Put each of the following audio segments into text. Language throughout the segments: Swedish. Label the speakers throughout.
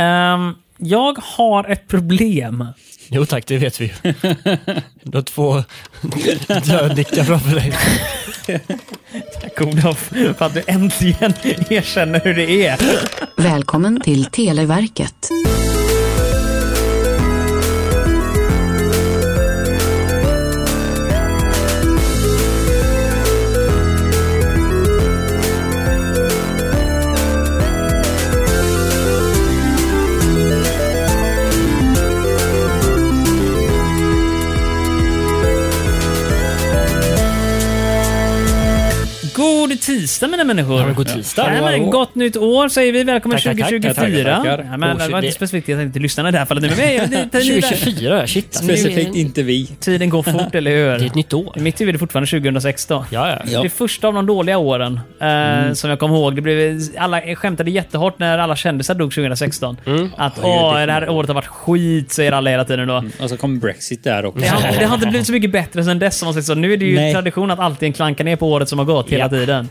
Speaker 1: Ehm, jag har ett problem.
Speaker 2: Jo tack, det vet vi ju. Du har två dödnickar framför dig.
Speaker 1: Tack Olof, för att du äntligen erkänner hur det är.
Speaker 3: Välkommen till Televerket.
Speaker 1: God tisdag mina människor.
Speaker 2: Ja, men god tisdag.
Speaker 1: Ja, men, gott nytt år säger vi. Välkommen
Speaker 2: Tackar, tackar,
Speaker 1: 2024.
Speaker 4: tackar, tackar.
Speaker 1: Ja, men, det var
Speaker 2: Åh,
Speaker 1: inte
Speaker 2: shit,
Speaker 1: specifikt, jag tänkte lyssna i det här fallet. nu, Men vi är- det- det- det-
Speaker 2: 2024, shit. Det
Speaker 4: Specifikt inte vi.
Speaker 1: Tiden går fort, eller
Speaker 2: är
Speaker 1: hur?
Speaker 2: ett nytt år.
Speaker 1: I mitt huvud är det fortfarande 2016.
Speaker 2: Ja, ja. Mm.
Speaker 4: Ja.
Speaker 1: Det första av de dåliga åren eh, som jag kommer ihåg. Det blev, alla skämtade jättehårt när alla kändisar dog 2016.
Speaker 2: Mm.
Speaker 1: Att åh, det här året har varit skit, säger alla hela tiden då.
Speaker 4: Och så kom Brexit där också.
Speaker 1: Det har,
Speaker 2: Mm.
Speaker 1: det har inte blivit så mycket bättre sen dess. Som man säger så. Nu är det ju
Speaker 4: Nej.
Speaker 1: tradition att alltid klanka ner på året som har gått hela
Speaker 2: Ja.
Speaker 1: tiden.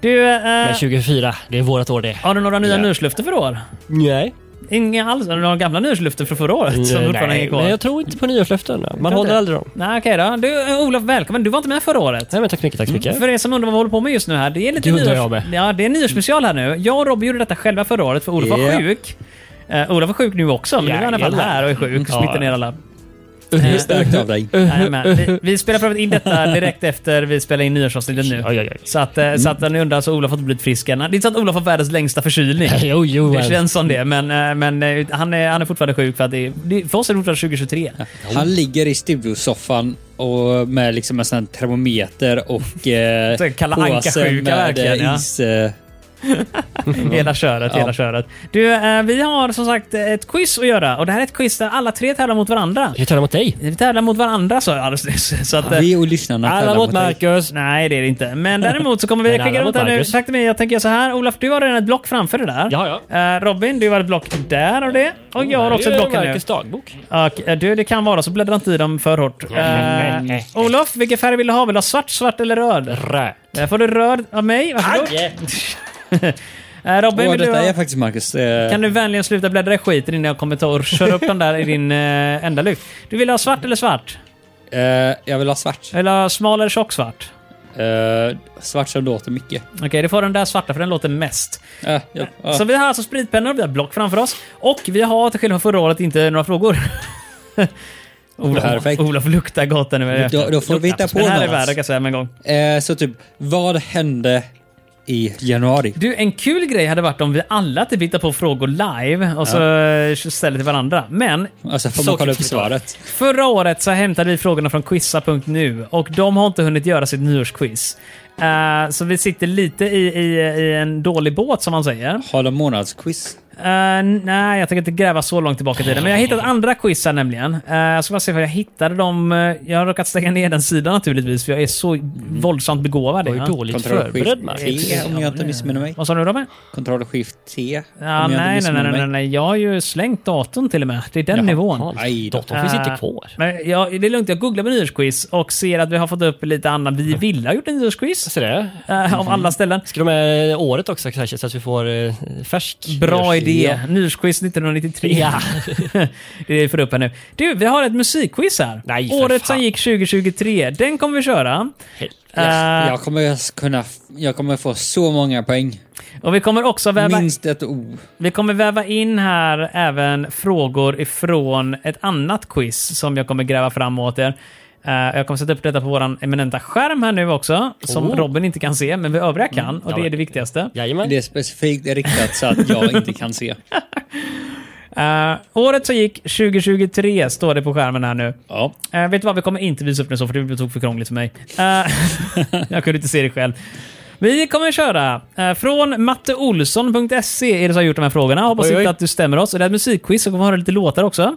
Speaker 1: Du, eh,
Speaker 2: Mm. Men 2024, det är vårat år det.
Speaker 1: har du några nya
Speaker 4: Ja.
Speaker 1: nyårslöften för i år?
Speaker 2: Nej.
Speaker 1: Inga alls? Har du några gamla nyårslöften från förra året som fortfarande hänger
Speaker 2: Mm, Nej,
Speaker 1: kvar?
Speaker 2: men jag tror inte på nyårslöften. Man håller
Speaker 1: inte.
Speaker 2: aldrig dem.
Speaker 1: Nej, okej då. Du, eh, Olof, välkommen. Du var inte med förra året.
Speaker 2: Nej men tack så mycket, tack så mycket.
Speaker 1: För er som undrar vad vi håller på med just nu här. Det är lite
Speaker 2: Det undrar
Speaker 1: nyårs...
Speaker 2: jag med.
Speaker 1: Ja, det är en nyårsspecial här nu. Jag och Robin gjorde detta själva förra året för Olof var
Speaker 4: Ja.
Speaker 1: sjuk. Uh, Olof var sjuk nu också, men nu är han i alla fall
Speaker 2: Jajamän.
Speaker 1: här och är sjuk.
Speaker 2: Ja. Eh,
Speaker 1: Smittar ner alla.
Speaker 4: Det är starkt av dig.
Speaker 1: Nej, men, vi, vi spelar för övrigt in detta direkt efter vi spelar in nyårsavsnittet nu.
Speaker 2: Oj, oj, oj.
Speaker 1: Så att, eh, så att ni undrar så Olof har inte blivit frisk än. Det är inte så att Olof har världens längsta förkylning.
Speaker 2: Jo, jo.
Speaker 1: Det
Speaker 2: men-
Speaker 1: känns som det, men, eh, men eh, han, är, han är fortfarande sjuk för att det, är- det, för oss är det fortfarande 2023.
Speaker 4: Han ligger i studiosoffan och med liksom en sån här termometer och
Speaker 1: Så
Speaker 4: eh,
Speaker 1: Kalle
Speaker 4: påse
Speaker 1: Anka-sjuka
Speaker 4: med
Speaker 1: verkligen, ja.
Speaker 4: eh, is. Eh,
Speaker 2: Mm.
Speaker 1: Hela köret,
Speaker 4: Ja.
Speaker 1: hela köret. Du, eh, vi har som sagt ett quiz att göra och det här är ett quiz där alla tre tävlar mot varandra.
Speaker 2: Jag tävlar mot dig.
Speaker 1: Vi tävlar mot varandra sa jag alldeles nyss. Så att, eh,
Speaker 4: vi och lyssnarna
Speaker 2: Alla
Speaker 4: tävlar
Speaker 2: mot
Speaker 4: dig.
Speaker 2: Marcus.
Speaker 1: Nej, det är det inte. Men däremot så kommer vi
Speaker 2: Men alla
Speaker 1: skicka runt
Speaker 2: mot
Speaker 1: här nu.
Speaker 2: Marcus.
Speaker 1: Sagt till mig, jag tänker göra så här. Olof, du har redan ett block framför dig där.
Speaker 2: Ja,
Speaker 1: Eh, Robin, du har ett block där och det. Och jag har också ett block här nu.
Speaker 2: Marcus dagbok.
Speaker 1: Och, eh, du, det kan vara så. Bläddra inte i dem för hårt.
Speaker 2: nej, nej.
Speaker 1: Eh, Olof, vilken färg vill du ha? Vill du ha svart, svart eller röd?
Speaker 2: Rä.
Speaker 1: Där får du röd av mig. Varsågod. Eh, Robin,
Speaker 4: Åh,
Speaker 1: vill du
Speaker 4: detta
Speaker 1: ha...
Speaker 4: är faktiskt Marcus. Eh,
Speaker 1: Kan du vänligen sluta bläddra i skiten innan jag kommer ta och köra upp den där i din eh, enda lukt? Du vill ha svart eller svart?
Speaker 4: eh, jag vill ha svart.
Speaker 1: Eller ha smal eller tjock svart?
Speaker 4: Eh, svart som låter mycket.
Speaker 1: Okej, du får den där svarta för den låter mest.
Speaker 4: Eh, ja, ja.
Speaker 1: Så vi har alltså spritpennor och vi har block framför oss. Och vi har till skillnad från förra året inte några frågor. Olof,
Speaker 4: Oh, Perfekt.
Speaker 1: Olof luktar gott här nu.
Speaker 4: Då- då får vi hitta på
Speaker 1: Den här är
Speaker 4: något.
Speaker 1: värd, kan jag säga med en gång.
Speaker 4: Eh, så typ, vad hände i januari?
Speaker 1: Du, en kul grej hade varit om vi alla typ hittar på frågor live och så eh, ställer till varandra. Men
Speaker 4: Alltså får man
Speaker 2: Så
Speaker 4: kolla upp
Speaker 2: klippigt.
Speaker 4: svaret.
Speaker 1: Förra året så hämtade vi frågorna från quizza.nu och de har inte hunnit göra sitt nyårsquiz. Eh, så vi sitter lite i, i, i en dålig båt som man säger.
Speaker 4: Har de månadsquiz?
Speaker 1: Eh, nej, jag tänker inte gräva så långt tillbaka i tiden. Men jag har hittat andra quiz här nämligen. Eh, jag ska bara se vad jag hittade dem. eh, Jag har råkat stänga ner den sidan naturligtvis för jag är så våldsamt begåvad.
Speaker 2: Du var ju
Speaker 1: ja.
Speaker 2: dåligt
Speaker 4: Kontroll
Speaker 2: förberedd
Speaker 4: skift
Speaker 2: Marcus.
Speaker 4: T om jag inte missminner mig.
Speaker 1: Vad sa du Robin?
Speaker 4: Kontroll skift T
Speaker 1: Ja,
Speaker 4: om jag inte
Speaker 1: nej, nej,
Speaker 4: missminner
Speaker 1: nej, nej,
Speaker 4: mig.
Speaker 1: nej. Jag har ju slängt datorn till och med. Det är den
Speaker 2: Jaha,
Speaker 1: nivån.
Speaker 2: fan.
Speaker 4: Aj då.
Speaker 2: Datorn finns
Speaker 1: Eh,
Speaker 2: inte kvar.
Speaker 1: Men jag, det är lugnt, jag googlar på nyårsquiz och ser att vi har fått upp lite annan.
Speaker 2: Mm.
Speaker 1: Vi ville ha gjort en nyårsquiz
Speaker 2: Så det.
Speaker 1: eh,
Speaker 2: Mm.
Speaker 1: av alla ställen.
Speaker 2: Ska de med året också kanske så att vi får eh, färsk
Speaker 1: Bra
Speaker 2: nyårs-
Speaker 1: idé. Nyårsquiz 1993.
Speaker 2: Ja.
Speaker 1: det är för upp här nu. Du, vi har ett musikquiz här.
Speaker 2: Nej, för
Speaker 1: Året
Speaker 2: fan.
Speaker 1: som gick 2023. Den kommer vi köra.
Speaker 2: Helvete.
Speaker 4: Jag,
Speaker 1: Eh,
Speaker 4: jag kommer kunna... Jag kommer få så många poäng.
Speaker 1: och vi kommer också väva,
Speaker 4: Minst ett O.
Speaker 1: vi kommer väva in här även frågor ifrån ett annat quiz som jag kommer gräva fram åt er. Eh, jag kommer sätta upp detta på vår eminenta skärm här nu också, som
Speaker 2: Oh. Mm.
Speaker 1: Robin inte kan se, men vi övriga kan. och det
Speaker 2: ja.
Speaker 1: är det viktigaste.
Speaker 2: Jajamän.
Speaker 4: Det är specifikt riktat så att jag inte kan se.
Speaker 1: Eh, året som gick 2023 står det på skärmen här nu.
Speaker 4: Ja.
Speaker 1: Eh, vet du vad, vi kommer inte visa upp den så för det tog för krångligt för mig. Eh, jag kunde inte se det själv. Vi kommer köra eh, från matteolsson.se är det som har gjort de här frågorna. Hoppas
Speaker 2: Oj, oj.
Speaker 1: inte att du stämmer oss. Och Det är ett musikquiz och vi kommer höra lite låtar också.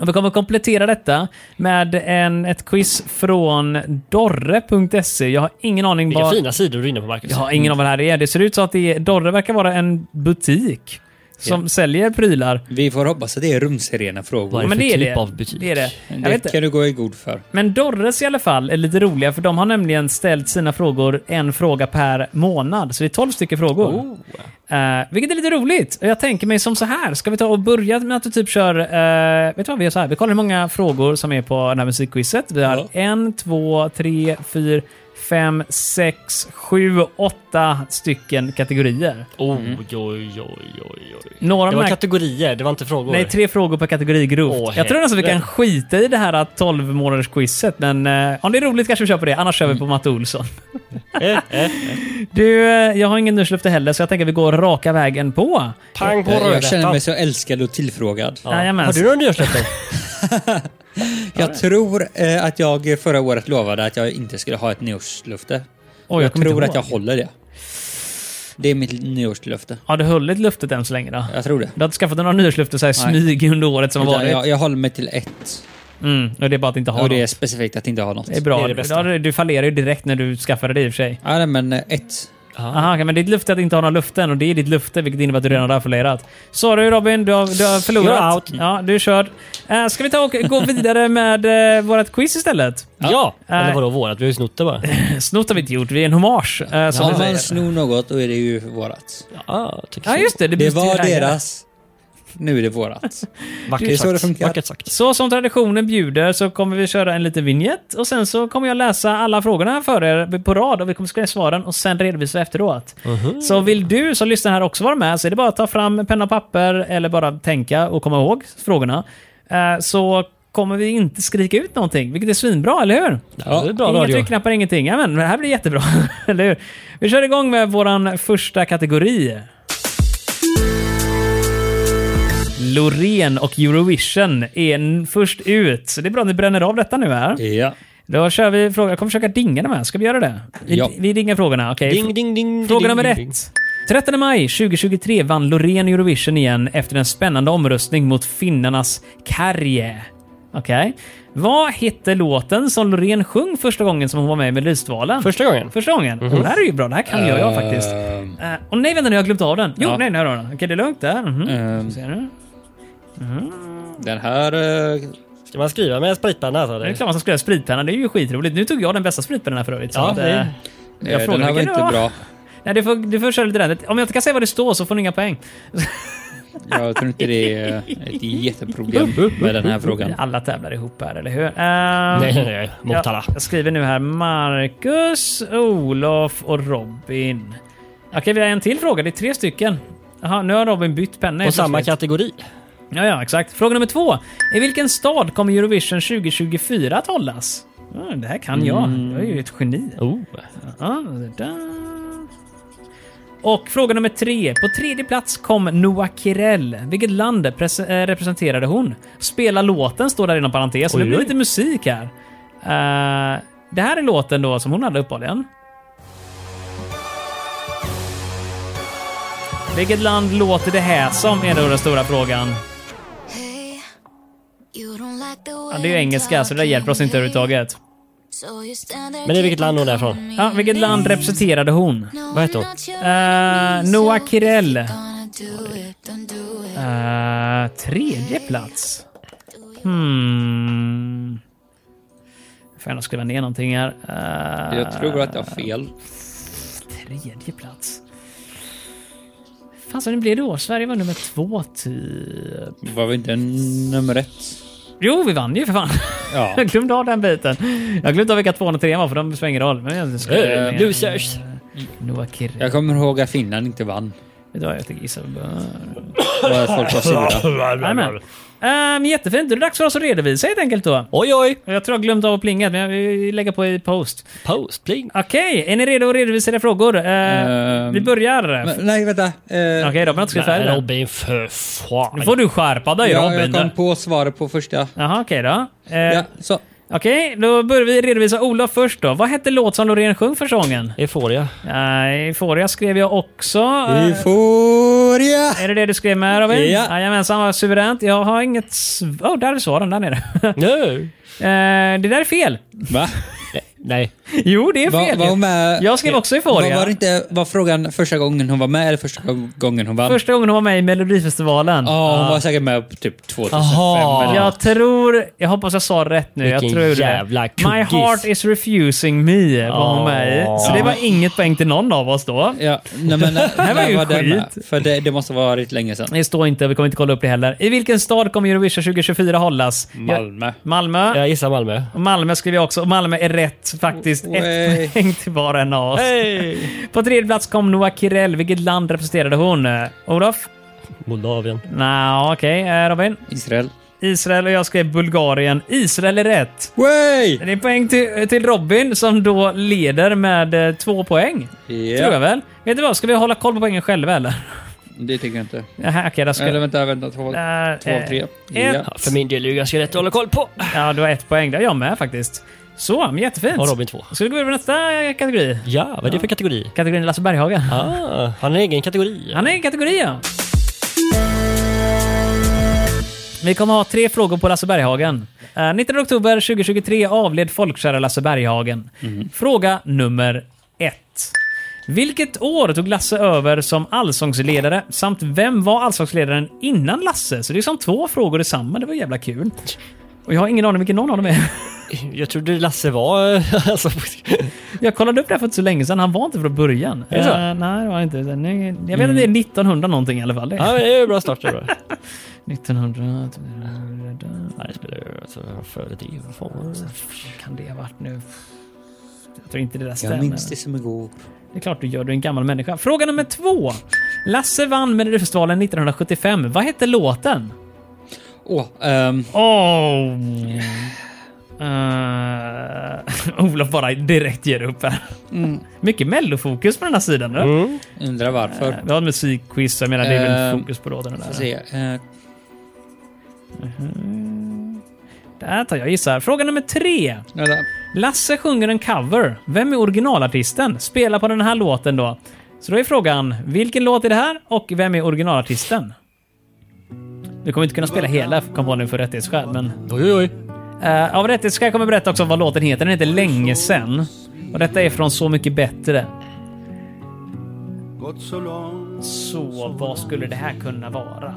Speaker 1: Och vi kommer komplettera detta med en, ett quiz från dorre.se. Jag har ingen aning
Speaker 2: Vilka
Speaker 1: vad...
Speaker 2: fina sidor du är inne på Marcus.
Speaker 1: Jag har ingen aning vad det här är. Det ser ut så att det är, Dorre verkar vara en butik. som säljer prylar.
Speaker 4: Vi får hoppas att det är rumsrena frågor.
Speaker 2: Vad är
Speaker 1: men
Speaker 2: för
Speaker 1: det är
Speaker 2: typ
Speaker 1: det.
Speaker 2: av butik?
Speaker 1: Det är det.
Speaker 4: Det
Speaker 1: Jag vet
Speaker 4: kan
Speaker 1: inte.
Speaker 4: du gå i god för.
Speaker 1: Men Dorres i alla fall är lite roliga för de har nämligen ställt sina frågor en fråga per månad. Så det är 12 stycken frågor. Eh, vilket är lite roligt. Och jag tänker mig som så här, ska vi ta och börja med att du typ kör... eh, vet du vad vi gör så här? Vi kollar hur många frågor som är på det här musikquizet. Vi har
Speaker 4: Ja.
Speaker 1: en, två, tre, fyra, fem, sex, sju, åtta stycken kategorier.
Speaker 2: Oj, oj, oj, oj, oj.
Speaker 1: Mm. Några
Speaker 2: Det
Speaker 1: av
Speaker 2: var
Speaker 1: de här
Speaker 2: kategorier, det var inte frågor.
Speaker 1: Nej, tre frågor per kategori grovt.
Speaker 2: Åh,
Speaker 1: jag tror nästan vi kan skita i det här 12 månaders quizet men eh, om det är roligt kanske vi kör på det, annars kör
Speaker 4: Mm.
Speaker 1: vi på Matte Olsson.
Speaker 2: Eh, eh.
Speaker 1: Du, eh, jag har ingen nyårslöfte heller så jag tänker vi går raka vägen på.
Speaker 2: Pang på
Speaker 4: Jag, jag känner
Speaker 2: rödbetan.
Speaker 4: mig så älskad och tillfrågad.
Speaker 2: Ja.
Speaker 1: Jajamän.
Speaker 2: Har du några nyårslöften?
Speaker 4: Jag tror eh, att jag förra året lovade att jag inte skulle ha ett nyårslöfte.
Speaker 1: Oj,
Speaker 4: jag
Speaker 1: kommer inte
Speaker 4: tror att jag
Speaker 1: ihåg.
Speaker 4: håller det. Det är mitt nyårslöfte.
Speaker 1: Har du hållit luftet än så länge då?
Speaker 4: Jag tror det.
Speaker 1: Du har inte skaffat några nyårslöften så här
Speaker 4: Nej.
Speaker 1: smyg under året som har
Speaker 4: Utan
Speaker 1: varit?
Speaker 4: Jag, jag håller mig till ett.
Speaker 1: Mm, och det är bara att inte ha
Speaker 4: Och det är
Speaker 1: något.
Speaker 4: specifikt att inte ha något.
Speaker 1: Det är bra.
Speaker 2: det är det bästa.
Speaker 1: Ja, du fallerar ju direkt när du skaffade det i och för sig.
Speaker 4: Ja, nej, men eh, ett.
Speaker 1: Aha, okej, men ditt löfte är att inte ha några luften och det är ditt löfte vilket innebär att du redan har förlorat. Sorry Robin, du har, du har förlorat.
Speaker 2: You're out.
Speaker 1: Ja, du är körd. Eh, ska vi ta och gå vidare med uh, vårt quiz istället?
Speaker 2: Ja! Eller
Speaker 1: Nej.
Speaker 2: vadå vårat? Vi har ju snott det bara.
Speaker 1: Snott har vi inte gjort, vi är en hommage. eh, som
Speaker 4: Om
Speaker 1: vi
Speaker 4: man
Speaker 1: säger.
Speaker 4: snor något då är det ju vårat.
Speaker 2: Ja, jag tycker
Speaker 1: Ja,
Speaker 2: så.
Speaker 1: just det.
Speaker 4: Det
Speaker 1: byts
Speaker 4: var
Speaker 1: till ägare.
Speaker 4: deras. Nu är det vårat.
Speaker 2: Vackert
Speaker 4: Det är så
Speaker 2: sagt.
Speaker 4: det funkar.
Speaker 2: Vackert sagt.
Speaker 1: Så som traditionen bjuder så kommer vi köra en liten vignett och sen så kommer jag läsa alla frågorna för er på rad och vi kommer skriva svaren och sen redovisa efteråt. Så vill du som lyssnar här också vara med så är det bara att ta fram penna och papper eller bara tänka och komma ihåg frågorna. Eh, Så kommer vi inte skrika ut någonting, vilket är svinbra, eller hur?
Speaker 2: Ja, det är bra
Speaker 1: Inga
Speaker 2: radio.
Speaker 1: tryckknappar, ingenting. Ja, men det här blir jättebra, eller hur? Vi kör igång med våran första kategori. Loreen och Eurovision är n- först ut. Så det är bra att ni bränner av detta nu här.
Speaker 4: Ja.
Speaker 1: Då kör vi frågan. Jag kommer försöka dinga de här. Ska vi göra det? Vi,
Speaker 4: Ja.
Speaker 1: vi dingar frågorna. Okej.
Speaker 2: Ding, ding, ding.
Speaker 1: Fråga
Speaker 2: ding,
Speaker 1: nummer
Speaker 2: ding, ding.
Speaker 1: ett. 13 maj 2023 vann Loreen Eurovision igen efter en spännande omröstning mot finnarnas Kärje. Okej. Vad hette låten som Loreen sjöng första gången som hon var med i Melodifestivalen?
Speaker 2: Första gången.
Speaker 1: Första gången?
Speaker 2: Mhm.
Speaker 1: Oh, det här är ju bra. Det här kan ju jag faktiskt.
Speaker 4: Ehm,
Speaker 1: Eh, Åh nej, vänta nu. Jag har glömt av den. Jo,
Speaker 4: Ja.
Speaker 1: nej, nej, nej, nej. Okej, det är lugnt där.
Speaker 2: Mm.
Speaker 1: Mhm.
Speaker 4: ehm,
Speaker 1: Ser du?
Speaker 4: den här... eh,
Speaker 2: Ska man skriva med spritpenna? Alltså?
Speaker 1: Det är klart man ska skriva spritpenna, det är ju skitroligt. Nu tog jag den bästa spritpennan här för övrigt. så
Speaker 2: Ja,
Speaker 1: att,
Speaker 2: det-
Speaker 1: eh, jag
Speaker 4: eh,
Speaker 1: frågar
Speaker 4: den här var
Speaker 1: vilken
Speaker 4: inte
Speaker 1: det
Speaker 4: bra.
Speaker 1: Nej, du får, du får köra lite där. Om jag inte kan säga vad det står så får ni inga poäng.
Speaker 4: Jag tror inte det är ett jätteproblem med den här frågan.
Speaker 1: Alla tävlar ihop här, eller hur? Eh,
Speaker 2: Nej, nej, nej. Motala.
Speaker 1: Jag, jag skriver nu här Marcus, Olof och Robin. Okej, vi har en till fråga. Det är tre stycken. Jaha, nu har Robin bytt penna.
Speaker 2: Och
Speaker 1: helt
Speaker 2: samma
Speaker 1: plötsligt.
Speaker 2: kategori.
Speaker 1: Ja, ja, exakt. Fråga nummer två. I vilken stad kommer Eurovision 2024 att hållas? Mm, det här kan jag. Jag är ju ett geni.
Speaker 2: Oh.
Speaker 1: Ja, det där. Och fråga nummer tre. På tredje plats kom Noah Kirell. Vilket land pres- eh, representerade hon? Spela låten står där inom parentes. så
Speaker 2: Oj,
Speaker 1: nu blir det
Speaker 2: oj.
Speaker 1: lite musik här. Eh, det här är låten då som hon hade uppehållligen. Vilket land låter det här som? Är då den stora frågan. Ja,
Speaker 5: Ja,
Speaker 1: det är ju engelska, så det där hjälper oss inte överhuvudtaget.
Speaker 2: Men det är vilket land hon är från?
Speaker 1: Ja, vilket land representerade hon?
Speaker 2: Vad heter hon?
Speaker 1: Eh, Noah Kirell.
Speaker 5: Kirell.
Speaker 1: Eh, tredje plats. Hmm. Får jag nog skriva ner någonting här. Eh,
Speaker 4: Jag tror att jag har fel.
Speaker 1: Tredje plats. Fan, så det blev det år. Sverige var nummer två till...
Speaker 4: Det var väl inte nummer ett?
Speaker 1: Jo, vi vann ju för fan.
Speaker 4: Ja.
Speaker 1: Jag glömde av den biten. Jag glömde av vilka tvåan och trean var, för de spelar ingen roll. Men jag skriver
Speaker 2: Eh,
Speaker 1: ner.
Speaker 2: Losers.
Speaker 1: Noah Kirre.
Speaker 4: Jag kommer ihåg att Finland inte vann.
Speaker 1: Vet du vad, jag tänker gissa på Bör.
Speaker 4: Och att folk var sura.
Speaker 1: Jajamän. Ehm, jättefint. Då är det dags för oss att redovisa helt enkelt då.
Speaker 2: Oj, oj.
Speaker 1: Jag tror jag glömde av att plinga, men jag lägger på i post.
Speaker 2: Post, pling.
Speaker 1: Okej, är ni redo att redovisa era frågor? Eh,
Speaker 4: Ehm,
Speaker 1: vi börjar.
Speaker 4: Men, nej, vänta. Eh,
Speaker 1: Okej, Robin har inte skrivit
Speaker 2: Nej,
Speaker 1: färdigt än.
Speaker 2: Robin, för fan.
Speaker 1: Nu får du skärpa dig
Speaker 4: jag, jag
Speaker 1: Robin.
Speaker 4: kom på svaret på första.
Speaker 1: Jaha, okej då. Eh,
Speaker 4: Ja, så.
Speaker 1: Okej, då börjar vi redovisa Olof först då. Vad hette låt som Loreen sjöng för sången?
Speaker 2: Euphoria.
Speaker 1: Nej, Euphoria skrev jag också. Eh,
Speaker 4: Euphoria!
Speaker 1: är det det du skrev med Robin?
Speaker 4: Ja.
Speaker 1: Jajamensan, vad suveränt. Jag har inget... sv- Oh, där är svaren. Där nere.
Speaker 2: Nu.
Speaker 1: Eh, det där är fel.
Speaker 4: Va?
Speaker 2: Nej.
Speaker 1: Jo, det är
Speaker 4: Var,
Speaker 1: fel.
Speaker 4: var hon med?
Speaker 1: Jag skrev också
Speaker 4: var,
Speaker 1: Euphoria.
Speaker 4: var, det inte, var frågan första gången hon var med eller första gången hon vann?
Speaker 1: Första gången hon var med i Melodifestivalen.
Speaker 4: Ja, hon var säkert med på typ 2005
Speaker 2: Aha.
Speaker 4: eller
Speaker 1: Jag tror... Jag hoppas jag sa rätt nu. jag
Speaker 2: Vilken
Speaker 1: tror det.
Speaker 2: jävla kuggis.
Speaker 1: My heart is refusing me var hon med i. Så det var inget poäng till någon av oss då.
Speaker 4: Ja, nej men eh, det
Speaker 1: här var ju skit.
Speaker 4: För det, det måste ha varit länge sedan.
Speaker 1: Det står inte, vi kommer inte kolla upp det heller. I vilken stad kommer Eurovision 2024 hållas? Ja,
Speaker 4: Malmö.
Speaker 1: Malmö.
Speaker 2: Jag gissar Malmö.
Speaker 1: Och Malmö skriver jag också. Och Malmö är rätt faktiskt.
Speaker 4: Way.
Speaker 1: Ett poäng till var och en av oss.
Speaker 2: Oh, Hey!
Speaker 1: På tredje plats kom Noa Kirell. Vilket land representerade hon? Olof?
Speaker 2: Moldavien.
Speaker 1: Nja, okej. Eh, Robin?
Speaker 4: Israel.
Speaker 1: Israel och jag skrev Bulgarien. Israel är rätt.
Speaker 4: Way!
Speaker 1: Det är poäng till, till Robin som då leder med eh, två poäng.
Speaker 4: Ja.
Speaker 1: Tror jag väl. Vet du vad, ska vi hålla koll på poängen själva eller?
Speaker 4: Det tycker jag inte.
Speaker 1: Jaha, Okej, där ska...
Speaker 4: Eller vänta, vänta. Två,
Speaker 1: Där,
Speaker 4: två
Speaker 1: eh,
Speaker 4: tre.
Speaker 1: ett.
Speaker 4: Ja.
Speaker 2: Ja, för min del är det ganska lätt att hålla koll på.
Speaker 1: Ja, du har ett poäng. Det har jag med faktiskt. Så, men jättefint.
Speaker 2: Och Robin två.
Speaker 1: Ska vi gå över till nästa eh, kategori?
Speaker 2: Ja, vad är det för kategori?
Speaker 1: Kategorin Lasse Berghaga.
Speaker 2: Ah, han har en egen kategori.
Speaker 1: Han är en kategori ja. Vi kommer ha tre frågor på Lasse Berghagen. Eh, 19 oktober 2023 avled folkkära Lasse Berghagen. Fråga nummer ett. Vilket år tog Lasse över som allsångsledare samt vem var allsångsledaren innan Lasse? Så det är som två frågor i samma. Det var jävla kul. Och jag har ingen aning vilken någon av dem är.
Speaker 2: Jag trodde Lasse var... Alltså,
Speaker 1: Jag kollade upp det här för inte så länge sedan. Han var inte från början.
Speaker 2: Är det så?
Speaker 1: Eh, nej, det var han inte. Nej, Jag vet att det är 1900 någonting i alla fall. Det är-
Speaker 2: ja, men det är ju bra start. Det är bra.
Speaker 1: 1900...
Speaker 2: Nej, det spelar ju... Alltså, före det. Vad fan var det?
Speaker 1: kan det ha varit nu? Jag tror inte det där stämmer.
Speaker 4: Jag minns det som igår.
Speaker 1: Det är klart du gör, du är en gammal människa. Fråga nummer två. Lasse vann Melodifestivalen 1975. Vad hette låten?
Speaker 4: Åh, ehm,
Speaker 1: Oh. Uh, Olof bara direkt ger upp här.
Speaker 4: Mm.
Speaker 1: Mycket mellofokus på den här sidan. Du.
Speaker 4: undrar varför.
Speaker 1: Vi har ett musikquiz, jag menar det är väl
Speaker 4: Ehm,
Speaker 1: fokus på låten. och
Speaker 4: Får
Speaker 1: där.
Speaker 4: se. Eh,
Speaker 1: Där tar jag gissar. Fråga nummer tre.
Speaker 4: vänta.
Speaker 1: Lasse sjunger en cover. Vem är originalartisten? Spelar på den här låten då. Så då är frågan, vilken låt är det här och vem är originalartisten? Du kommer inte kunna spela hela komponen för rättighetsskäl, men...
Speaker 2: Oj, oj, oj.
Speaker 1: Eh, av rättighetsskäl kommer jag berätta också vad låten heter. Den heter Länge sen. Och detta är från Så mycket bättre.
Speaker 5: Gått så långt
Speaker 1: Så vad skulle det här kunna vara?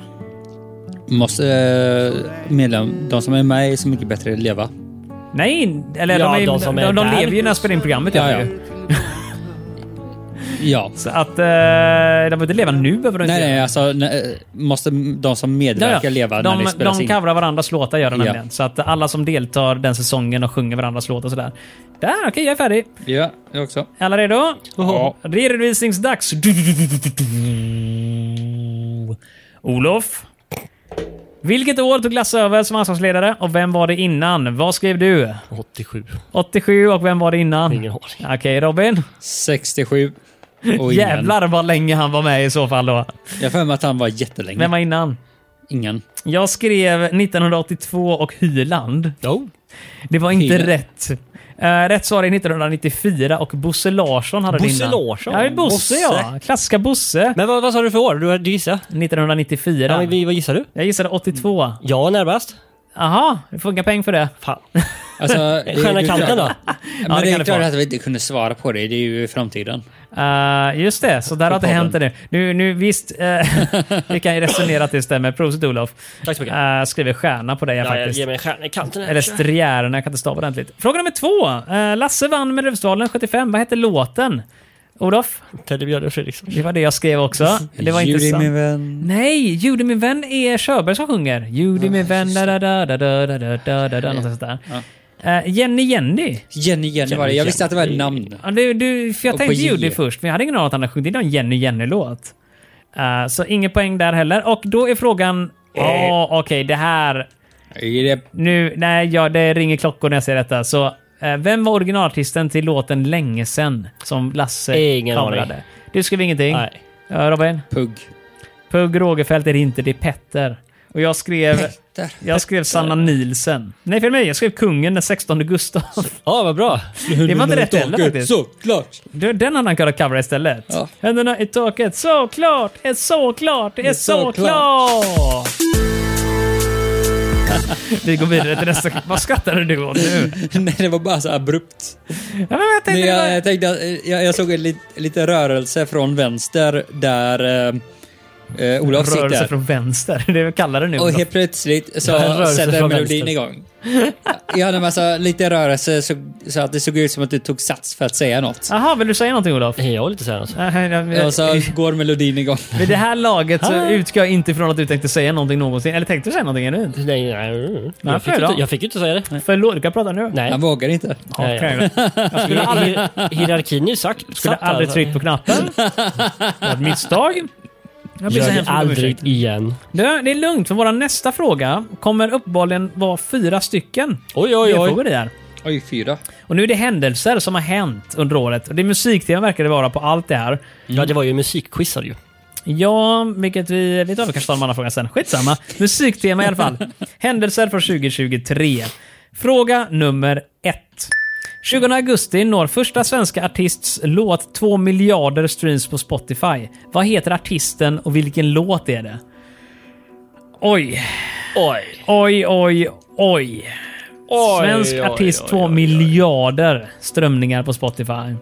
Speaker 4: Måste eh, medlem, de som är med är Så Mycket Bättre Leva.
Speaker 1: Nej, eller
Speaker 2: Ja,
Speaker 1: de, är, de,
Speaker 2: de som är
Speaker 1: de,
Speaker 2: där.
Speaker 1: lever ju när jag spelar in programmet.
Speaker 4: Ja,
Speaker 1: gör de
Speaker 4: ja.
Speaker 1: ju.
Speaker 4: Ja.
Speaker 1: Så att... Eh, de behöver inte leva nu, behöver de inte
Speaker 4: Nej,
Speaker 1: göra.
Speaker 4: nej, alltså nej, måste de som medverkar leva
Speaker 1: de,
Speaker 4: när det spelas
Speaker 1: De
Speaker 4: in?
Speaker 1: covrar varandras låtar gör de
Speaker 4: Ja.
Speaker 1: nämligen. Så att alla som deltar den säsongen och sjunger varandras låtar och sådär. Där, okej jag är färdig.
Speaker 4: Ja, jag också.
Speaker 1: Alla redo?
Speaker 4: Ja.
Speaker 1: Redovisningsdags. Olof. Vilket år tog Lasse över som ansvarsledare och vem var det innan? Vad skrev du?
Speaker 2: 87.
Speaker 1: 87 och vem var det innan?
Speaker 2: Ingen aning.
Speaker 1: Okej Robin.
Speaker 4: 67. Och Jävlar!
Speaker 1: Jävlar vad länge han var med i så fall då.
Speaker 4: Jag har för mig att han var jättelänge.
Speaker 1: Vem var innan?
Speaker 4: Ingen.
Speaker 1: Jag skrev 1982 och Hyland.
Speaker 2: Jo.
Speaker 1: Det var inte
Speaker 4: Fel.
Speaker 1: rätt. Eh, rätt svar är 1994 och Bosse Larsson hade
Speaker 2: Bosse
Speaker 1: det innan.
Speaker 2: Larsson?
Speaker 1: Ja, det är Bosse,
Speaker 2: Bosse.
Speaker 1: ja. Klassiska Bosse.
Speaker 2: Men vad, vad sa du för år? Du, du gissade?
Speaker 1: 1994.
Speaker 2: Ja. men vi- vad gissar du?
Speaker 1: Jag gissade 82.
Speaker 2: Jag var närmast.
Speaker 1: Aha, du får inga poäng för det.
Speaker 2: Fan.
Speaker 4: Alltså, det-
Speaker 2: Stjärna
Speaker 4: det
Speaker 2: i
Speaker 4: är
Speaker 2: kanten
Speaker 4: klart-
Speaker 2: då?
Speaker 4: Men
Speaker 1: det
Speaker 4: det,
Speaker 1: kan
Speaker 4: är
Speaker 1: det
Speaker 4: klart
Speaker 1: vara.
Speaker 4: att vi inte kunde svara på det. Det är ju framtiden.
Speaker 1: Eh, just det, så där har det
Speaker 4: podden.
Speaker 1: hänt nu. nu, nu visst, eh, vi kan ju resonera att det stämmer. Prosit Olof.
Speaker 2: Tack så mycket.
Speaker 1: Eh, skriver stjärna på dig
Speaker 2: Ja, jag
Speaker 1: faktiskt.
Speaker 2: ger mig en stjärna i kanten. här.
Speaker 1: Eller Striärerna, jag kan inte stava ordentligt. Fråga nummer två. Eh, Lasse vann med Rövsdalen 75. Vad hette låten? Olof?
Speaker 2: Teddy Björn Fredriksson.
Speaker 1: Det var det jag skrev också. Det var inte
Speaker 4: Juli,
Speaker 1: sant.
Speaker 4: min vän.
Speaker 1: Nej, Judy min vän är Körberg som sjunger. Judy min vän, da da da da da da da da da da något sånt där. Eh, Jenny Jenny.
Speaker 4: Jenny, Jenny var det. Jag visste att det var ett namn.
Speaker 1: Ja, Du, du, för jag
Speaker 4: Och på
Speaker 1: tänkte
Speaker 4: J.
Speaker 1: Judy först, men jag hade ingen aning om att han hade sjungit någon Jenny Jenny-låt. Eh, så ingen poäng där heller. Och då är frågan... Ja, okej, det här...
Speaker 4: Är det
Speaker 1: Nu, nej, ja, det ringer klockor när jag säger detta. Så, eh, vem var originalartisten till låten Länge sen som Lasse
Speaker 2: Ingen aning.
Speaker 1: coverade? Du skrev ingenting?
Speaker 2: Nej.
Speaker 1: Ja, Robin?
Speaker 4: Pugg?
Speaker 1: Pugh Rogefeldt är det inte, det är Petter. Och jag skrev...
Speaker 4: Där.
Speaker 1: Jag skrev Sanna Nielsen. Nej, för mig. Jag skrev kungen den 16 Gustav.
Speaker 2: Ja, vad bra.
Speaker 1: Det var inte rätt heller faktiskt.
Speaker 4: Såklart!
Speaker 1: Du, Den hade han kunnat covra istället.
Speaker 4: Ja.
Speaker 1: Händerna i taket. Såklart! Är såklart! Är
Speaker 4: såklart.
Speaker 1: såklart! Vi går vidare till nästa. Vad skrattade du åt nu?
Speaker 4: Nej, det var bara så abrupt.
Speaker 1: Ja, men jag tänkte
Speaker 4: Men
Speaker 1: det
Speaker 4: jag,
Speaker 1: var-
Speaker 4: jag tänkte att eh, jag, jag såg en lit, lite rörelse från vänster där eh, eh, Olof
Speaker 1: Rörelse
Speaker 4: sitter.
Speaker 1: från vänster. Det är vad vi kallar det nu.
Speaker 4: Och helt plötsligt så
Speaker 2: Ja, en rörelse
Speaker 4: sätter
Speaker 2: från
Speaker 4: melodin
Speaker 2: vänster.
Speaker 4: igång. Jag hade en massa lite rörelse så, så att det såg ut som att du tog sats för att säga något.
Speaker 1: Jaha, vill du säga någonting Olof?
Speaker 2: Jag vill inte säga något.
Speaker 1: Nej, nej, nej.
Speaker 4: Och så går melodin igång.
Speaker 1: Vid det här laget så
Speaker 2: Ah.
Speaker 1: utgår jag inte ifrån att du tänkte säga någonting någonsin. Eller tänkte du säga någonting ännu?
Speaker 2: Nej, nej, nej.
Speaker 1: Varför
Speaker 2: Jag, fick
Speaker 1: då?
Speaker 2: inte, jag fick ju inte säga det.
Speaker 1: Förlåt, du kan prata nu.
Speaker 2: Nej.
Speaker 4: Han vågar inte.
Speaker 1: Ja,
Speaker 2: Nej,
Speaker 1: okej. Jag skulle aldrig,
Speaker 2: Hier- Hierarkin är ju sagt.
Speaker 1: skulle
Speaker 2: satt,
Speaker 1: aldrig
Speaker 2: alltså.
Speaker 1: tryckt på knappen. Det var ett misstag. Jag ber så
Speaker 2: Gör det
Speaker 1: hemskt mycket om ursäkt.
Speaker 2: aldrig igen.
Speaker 1: Du, det är lugnt, för vår nästa fråga kommer uppenbarligen vara fyra stycken
Speaker 2: Oj, oj, oj.
Speaker 1: delfrågor i det här.
Speaker 4: Oj, fyra.
Speaker 1: Och nu är det händelser som har hänt under året. Och det är musikteman verkar det vara på allt det här.
Speaker 2: Ja, det var ju musikquizar ju.
Speaker 1: Ja, vilket vi... Vet du vad, vi kanske tar de andra frågan sen. Skitsamma. Musiktema i alla fall. Händelser från 2023. Fråga nummer ett. 20 augusti når första svenska artists låt 2 miljarder streams på Spotify. Vad heter artisten och vilken låt är det? Oj.
Speaker 2: Oj.
Speaker 1: Oj, oj, oj. Svensk
Speaker 2: oj,
Speaker 1: artist
Speaker 2: oj,
Speaker 1: 2
Speaker 2: oj, oj.
Speaker 1: miljarder strömningar på Spotify.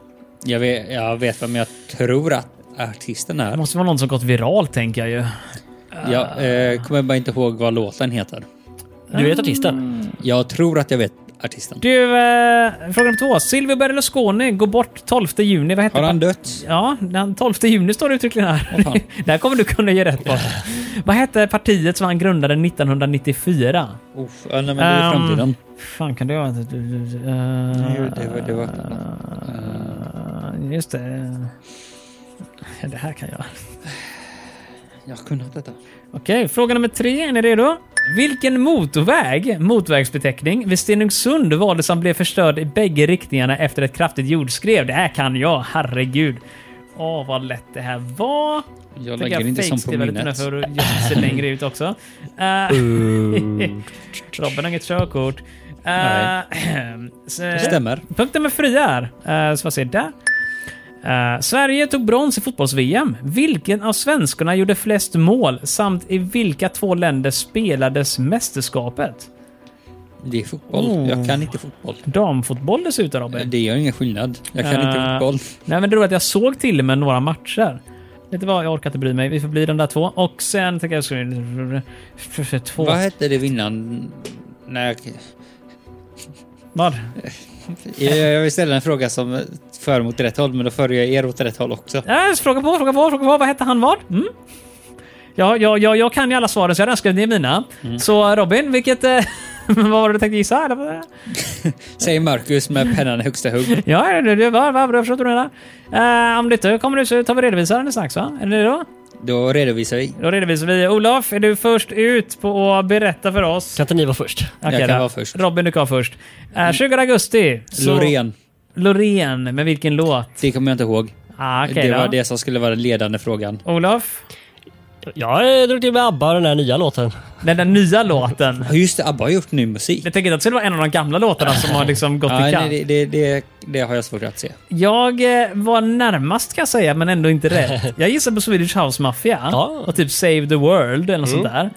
Speaker 4: Jag vet, jag vet vem jag tror att artisten
Speaker 1: Det
Speaker 4: är.
Speaker 1: måste vara någon som gått viral, tänker jag ju.
Speaker 4: Jag eh, kommer bara inte ihåg vad låten heter.
Speaker 2: Du vet artisten?
Speaker 4: Jag tror att jag vet artisten.
Speaker 1: Du, eh, fråga nummer två. Silvio Berlusconi går bort 12 juni. Vad heter
Speaker 4: Har han dött?
Speaker 1: Ja, den 12 juni står det uttryckligen här.
Speaker 4: Åh, fan.
Speaker 1: det här kommer du kunna ge rätt på. Vad hette partiet som han grundade 1994?
Speaker 4: Oh, ja, nej, men det är
Speaker 1: Ehm,
Speaker 4: framtiden.
Speaker 1: fan kan det vara? Du- du- du- eh,
Speaker 4: Jo, det var- det var-
Speaker 1: eh, Just det. Eh, Det här kan jag.
Speaker 4: Jag har kunnat detta.
Speaker 1: Okej, fråga nummer tre. Är ni redo? Vilken motorväg, motorvägsbeteckning, vid Stenungsund var det som blev förstörd i bägge riktningarna efter ett kraftigt jordskrev? Det här kan jag, herregud. Åh, vad lätt det här var.
Speaker 4: Jag
Speaker 1: Tänker
Speaker 4: lägger inte sånt på
Speaker 1: fejkskriva lite nu
Speaker 4: minnet.
Speaker 1: för att just se längre ut också. Eh,
Speaker 2: Mm.
Speaker 1: Robin har inget körkort. Uh,
Speaker 4: Nej. Det stämmer.
Speaker 1: Punkt nummer fyra är, eh, så vad säger jag där? Eh, Sverige tog brons i fotbolls-VM. Vilken av svenskarna gjorde flest mål samt i vilka två länder spelades mästerskapet?
Speaker 4: Det är fotboll.
Speaker 1: Oh.
Speaker 4: Jag kan inte fotboll.
Speaker 1: Damfotboll dessutom Robin.
Speaker 4: Det gör ingen skillnad. Jag kan inte
Speaker 1: Eh,
Speaker 4: fotboll.
Speaker 1: Nej men det är roligt att jag såg till med några matcher. Vet du vad, jag orkar inte bry mig. Vi får bli de där två. Och sen tänker jag... skulle- Två...
Speaker 4: Vad hette det innan? Nej,
Speaker 1: Vad?
Speaker 4: jag, jag vill ställa en fråga som för mot rätt håll, men då för jag er åt rätt håll också.
Speaker 1: Ja, så fråga på, fråga på, fråga på. Vad hette han vad? Mm. Ja, ja, ja, jag kan ju alla svaren så jag har redan skrivit ner mina. Så Robin, vilket... Eh, vad var det du tänkte gissa? Eller? vad?
Speaker 4: Säger Marcus med pennan i högsta hugg.
Speaker 1: Ja, det, det var vad jag förstod du menar. Eh, om du inte kommer nu så tar vi redovisaren alldeles strax va? Är det då?
Speaker 4: Då redovisar vi.
Speaker 1: Då redovisar vi. Olof, är du först ut på att berätta för oss?
Speaker 2: Kan inte ni vara först?
Speaker 1: Okej
Speaker 4: jag kan
Speaker 1: då.
Speaker 4: vara först.
Speaker 1: Robin, du kan vara först. Eh, 20 augusti. så-
Speaker 4: Loreen.
Speaker 1: Loreen, med vilken låt?
Speaker 4: Det kommer jag inte ihåg.
Speaker 1: Ah, Okej
Speaker 4: det var
Speaker 1: då.
Speaker 4: det som skulle vara den ledande frågan.
Speaker 1: Olof,
Speaker 2: Jag eh, drog till med ABBA den här nya låten.
Speaker 1: den där nya låten.
Speaker 4: Ja, Just det, ABBA har gjort ny musik.
Speaker 1: Jag tänker inte att det skulle vara en av de gamla låtarna som har liksom gått
Speaker 4: Ja,
Speaker 1: i
Speaker 4: nej,
Speaker 1: kant.
Speaker 4: det, det, det, det har jag svårt att se.
Speaker 1: Jag eh, var närmast kan jag säga, men ändå inte rätt. Jag gissade på Swedish House Mafia
Speaker 2: Ja.
Speaker 1: och typ Save the World eller något sånt där.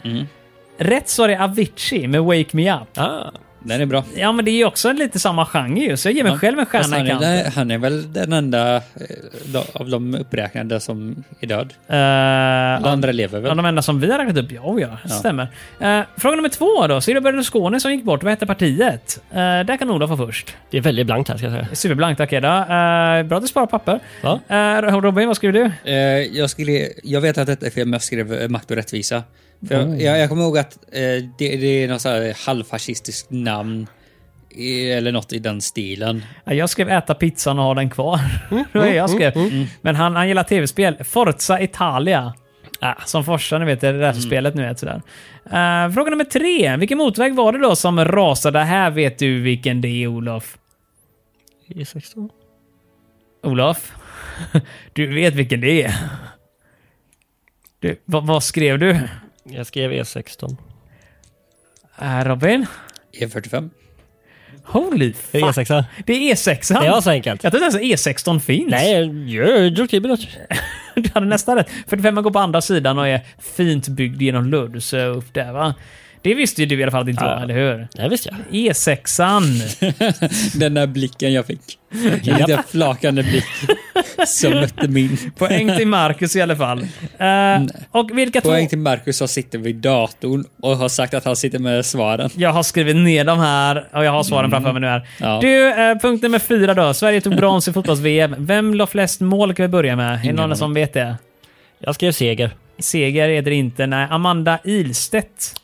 Speaker 1: Rätt svar är Avicii med Wake Me Up.
Speaker 2: Ah.
Speaker 4: Den är bra.
Speaker 1: Ja, men det är ju också lite samma genre ju, så jag ger mig själv en
Speaker 4: Fast
Speaker 1: stjärna
Speaker 4: han,
Speaker 1: i kanten.
Speaker 4: är, han är väl den enda eh, de- av de uppräknade som är död.
Speaker 1: Eh,
Speaker 4: De andra lever
Speaker 1: Ja,
Speaker 4: väl?
Speaker 1: de enda som vi har räknat upp. Ja, oh ja, det stämmer. Eh, fråga nummer två då. Silvio Berlusconi som gick bort. Vad hette partiet? Eh, där kan Olof vara först.
Speaker 2: Det är väldigt blankt här ska jag säga.
Speaker 1: Superblankt, tack Edda. Eh, bra att du sparar papper.
Speaker 2: Ja.
Speaker 1: Eh, Robin, vad skriver du?
Speaker 4: Eh, jag, skulle, jag vet att detta är fel, men jag skrev eh, Makt och rättvisa. För jag, jag, jag kommer ihåg att eh, det, det är något så här halvfascistiskt namn. eh, Eller något i den stilen.
Speaker 1: Ja, Jag skrev äta pizzan och ha den kvar.
Speaker 2: Mm,
Speaker 1: det var det jag skrev. Men han, han gillar tv-spel. Forza Italia. Ah, som Forsa, ni vet, det
Speaker 2: Mm.
Speaker 1: där spelet nu vet sådär. Eh, fråga nummer tre. Vilken motväg var det då som rasade? Här vet du vilken det är, Olof.
Speaker 2: E E16.
Speaker 1: Olof? Du vet vilken det är. Du, vad, vad skrev du?
Speaker 2: Jag skrev E E16.
Speaker 1: Eh, Robin?
Speaker 4: E45.
Speaker 1: Holy
Speaker 2: Är det
Speaker 1: fuck.
Speaker 2: E6?
Speaker 1: Det är E6.
Speaker 2: E Det var så enkelt.
Speaker 1: Jag tror inte ens E16 finns.
Speaker 2: Nej, jag drog till med något.
Speaker 1: Du hade nästan rätt. 45 går på andra sidan och är fint byggd genom Lund, så eh, upp där va. Det visste ju du i alla fall att det inte
Speaker 2: Ja.
Speaker 1: var, eller hur? E
Speaker 2: Det här visste jag.
Speaker 1: E6an.
Speaker 4: Den där blicken jag fick. Den där flakande blick som mötte min.
Speaker 1: Poäng till Marcus i alla fall. Eh, och vilka två...
Speaker 4: Poäng till Marcus som sitter vid datorn och har sagt att han sitter med svaren.
Speaker 1: Jag har skrivit ner de här och jag har svaren framför mig nu här.
Speaker 4: Mm. Ja.
Speaker 1: Du, eh, punkt nummer fyra då. Sverige tog brons i fotbolls-VM. Vem la flest mål kan vi börja med? Är det någon som vet det?
Speaker 2: Jag skrev seger.
Speaker 1: Seger är det inte. Nej, Amanda Ilstedt.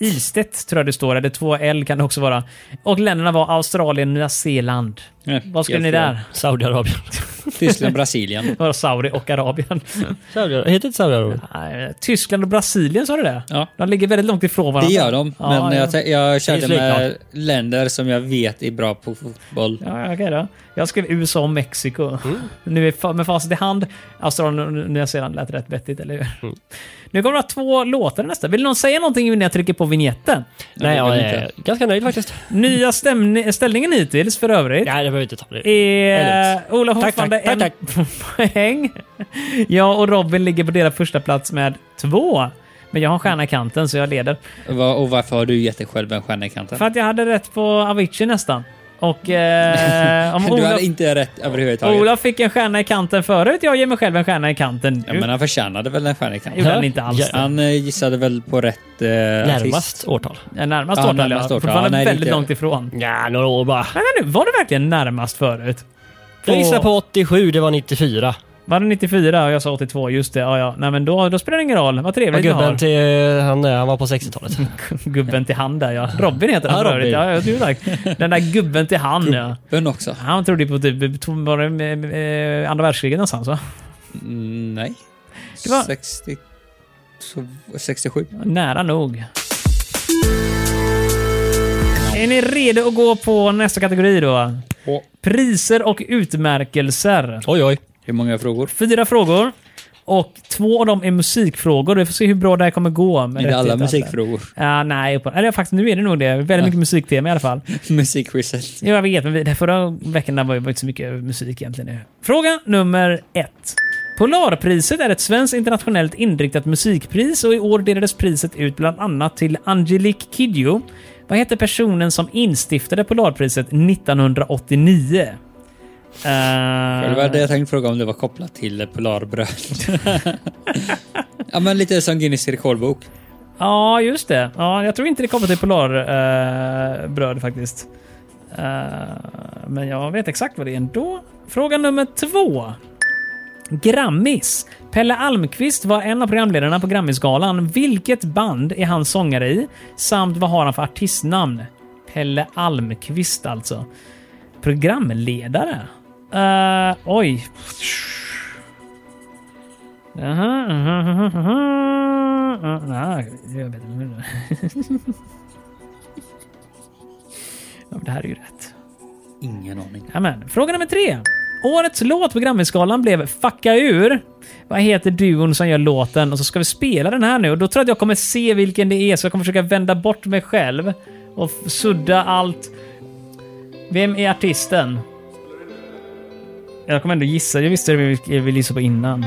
Speaker 1: Ilstedt tror jag det står, eller två L kan det också vara. Och länderna var Australien, Nya Zeeland.
Speaker 4: Nej,
Speaker 1: Vad skulle
Speaker 4: helt
Speaker 1: ni
Speaker 4: fel.
Speaker 1: där?
Speaker 2: Saudiarabien.
Speaker 4: Tyskland, Brasilien.
Speaker 1: Det var Saudi och Arabien.
Speaker 2: Saudiarabien. Heter inte Saudiarabien?
Speaker 1: Nej, Tyskland och Brasilien sa du det?
Speaker 4: Ja.
Speaker 1: De ligger väldigt långt ifrån
Speaker 4: Det
Speaker 1: varandra.
Speaker 4: gör de,
Speaker 1: Ja,
Speaker 4: men
Speaker 1: ja.
Speaker 4: jag, tän- jag kände
Speaker 2: Det är
Speaker 4: med länder som jag vet är bra på fotboll.
Speaker 1: Ja, okej då. Jag skrev USA och Mexiko.
Speaker 4: Mm.
Speaker 1: Nu är fa- med facit i hand, Australien och Nya Zeeland lät rätt vettigt, eller hur?
Speaker 4: Mm.
Speaker 1: Nu kommer det vara två låtar nästa. Vill någon säga någonting innan jag trycker på vignetten?
Speaker 2: Nej,
Speaker 4: jag
Speaker 2: jag
Speaker 4: vet
Speaker 2: är ganska nöjd faktiskt.
Speaker 1: Nya stämni- ställningen hittills för övrigt
Speaker 2: Nej, jag behöver inte ta det.
Speaker 1: är
Speaker 2: Ärligt.
Speaker 1: eh, Ola
Speaker 2: Tack,
Speaker 1: fortfarande
Speaker 2: tack, tack,
Speaker 1: en poäng. Jag och Robin ligger på deras första plats med två. Men jag har en stjärna i kanten så jag leder.
Speaker 4: Va- Och varför har du gett dig själv en stjärna i kanten?
Speaker 1: För att jag hade rätt på Avicii nästan. Och eh, om
Speaker 4: Du
Speaker 1: Ola,
Speaker 4: hade inte rätt överhuvudtaget.
Speaker 1: Ola fick en stjärna i kanten förut, jag ger mig själv en stjärna i kanten nu.
Speaker 4: Ja, men han förtjänade väl en stjärna i
Speaker 1: gjorde
Speaker 4: kanten?
Speaker 1: han inte alls.
Speaker 2: Ja.
Speaker 4: Han eh, gissade väl på rätt eh, artist.
Speaker 2: Närmast årtal.
Speaker 1: Ja, Närmast
Speaker 4: Ja,
Speaker 1: tårtan, ja,
Speaker 4: närmast tårtan. Ja,
Speaker 1: Fortfarande
Speaker 4: nej, det är
Speaker 1: väldigt
Speaker 4: inte-
Speaker 1: långt ifrån.
Speaker 2: Ja, några år bara.
Speaker 1: Vänta nu, var det verkligen närmast förut?
Speaker 2: Jag gissar på 87, det var 94.
Speaker 1: Var det 94 och jag sa 82? Just det, ja ja. Nej men då, då spelar det ingen roll. Vad
Speaker 2: Och
Speaker 1: trevligt du har.
Speaker 2: gubben till, eh, han, han var på 60-talet.
Speaker 1: gubben till hand där ja. Robin heter han
Speaker 2: Ja,
Speaker 1: för övrigt.
Speaker 2: Robin.
Speaker 1: Ja, ja, du tack. Den där gubben till hand ja.
Speaker 4: Men också.
Speaker 1: Han trodde ju på typ to- var det, eh, andra världskriget någonstans va?
Speaker 4: Mm, nej.
Speaker 1: Det var-
Speaker 4: 60... 67.
Speaker 1: Nära nog. Är ni redo att gå på nästa kategori då?
Speaker 4: Åh,
Speaker 1: Priser och utmärkelser.
Speaker 2: Oj, oj.
Speaker 4: hur många frågor?
Speaker 1: Fyra frågor. Och två av dem är musikfrågor. Vi får se hur bra det här kommer gå. med
Speaker 4: Är det
Speaker 1: rätt
Speaker 4: alla
Speaker 1: till
Speaker 4: musikfrågor?
Speaker 1: Ja, nej, upp- eller faktiskt nu är det nog det. Väldigt mycket musiktema i alla fall.
Speaker 4: Musikquizet.
Speaker 1: Jo, jag vet, men vi- den förra veckan där var det inte så mycket musik egentligen. nu. Fråga nummer ett. Polarpriset är ett svenskt internationellt inriktat musikpris och i år delades priset ut bland annat till Angelique Kidjo. Vad hette personen som instiftade Polarpriset 1989? Eh,
Speaker 4: Det var det jag tänkte fråga om det var kopplat till Polarbröd. ja, men lite som Guinness rekordbok.
Speaker 1: Ja, just det. Ja, jag tror inte det kommer till Polarbröd eh, bröd faktiskt. Eh, men jag vet exakt vad det är ändå. Fråga nummer två. Grammis. Pelle Almqvist var en av programledarna på Grammisgalan. Vilket band är han sångare i? Samt vad har han för artistnamn? Pelle Almqvist alltså. Programledare? Eh, oj. Aha, aha, aha, aha. Ah, nej, jag vet inte. ja, men det här är ju rätt.
Speaker 4: Ingen aning.
Speaker 1: Amen. Fråga nummer tre. Årets låt på Grammisgalan blev Fucka ur. Vad heter duon som gör låten? Och så ska vi spela den här nu. Och då tror jag att jag kommer se vilken det är, så jag kommer försöka vända bort mig själv och f- sudda allt. Vem är artisten? Jag kommer ändå gissa. Jag visste det vi vi gissade på innan.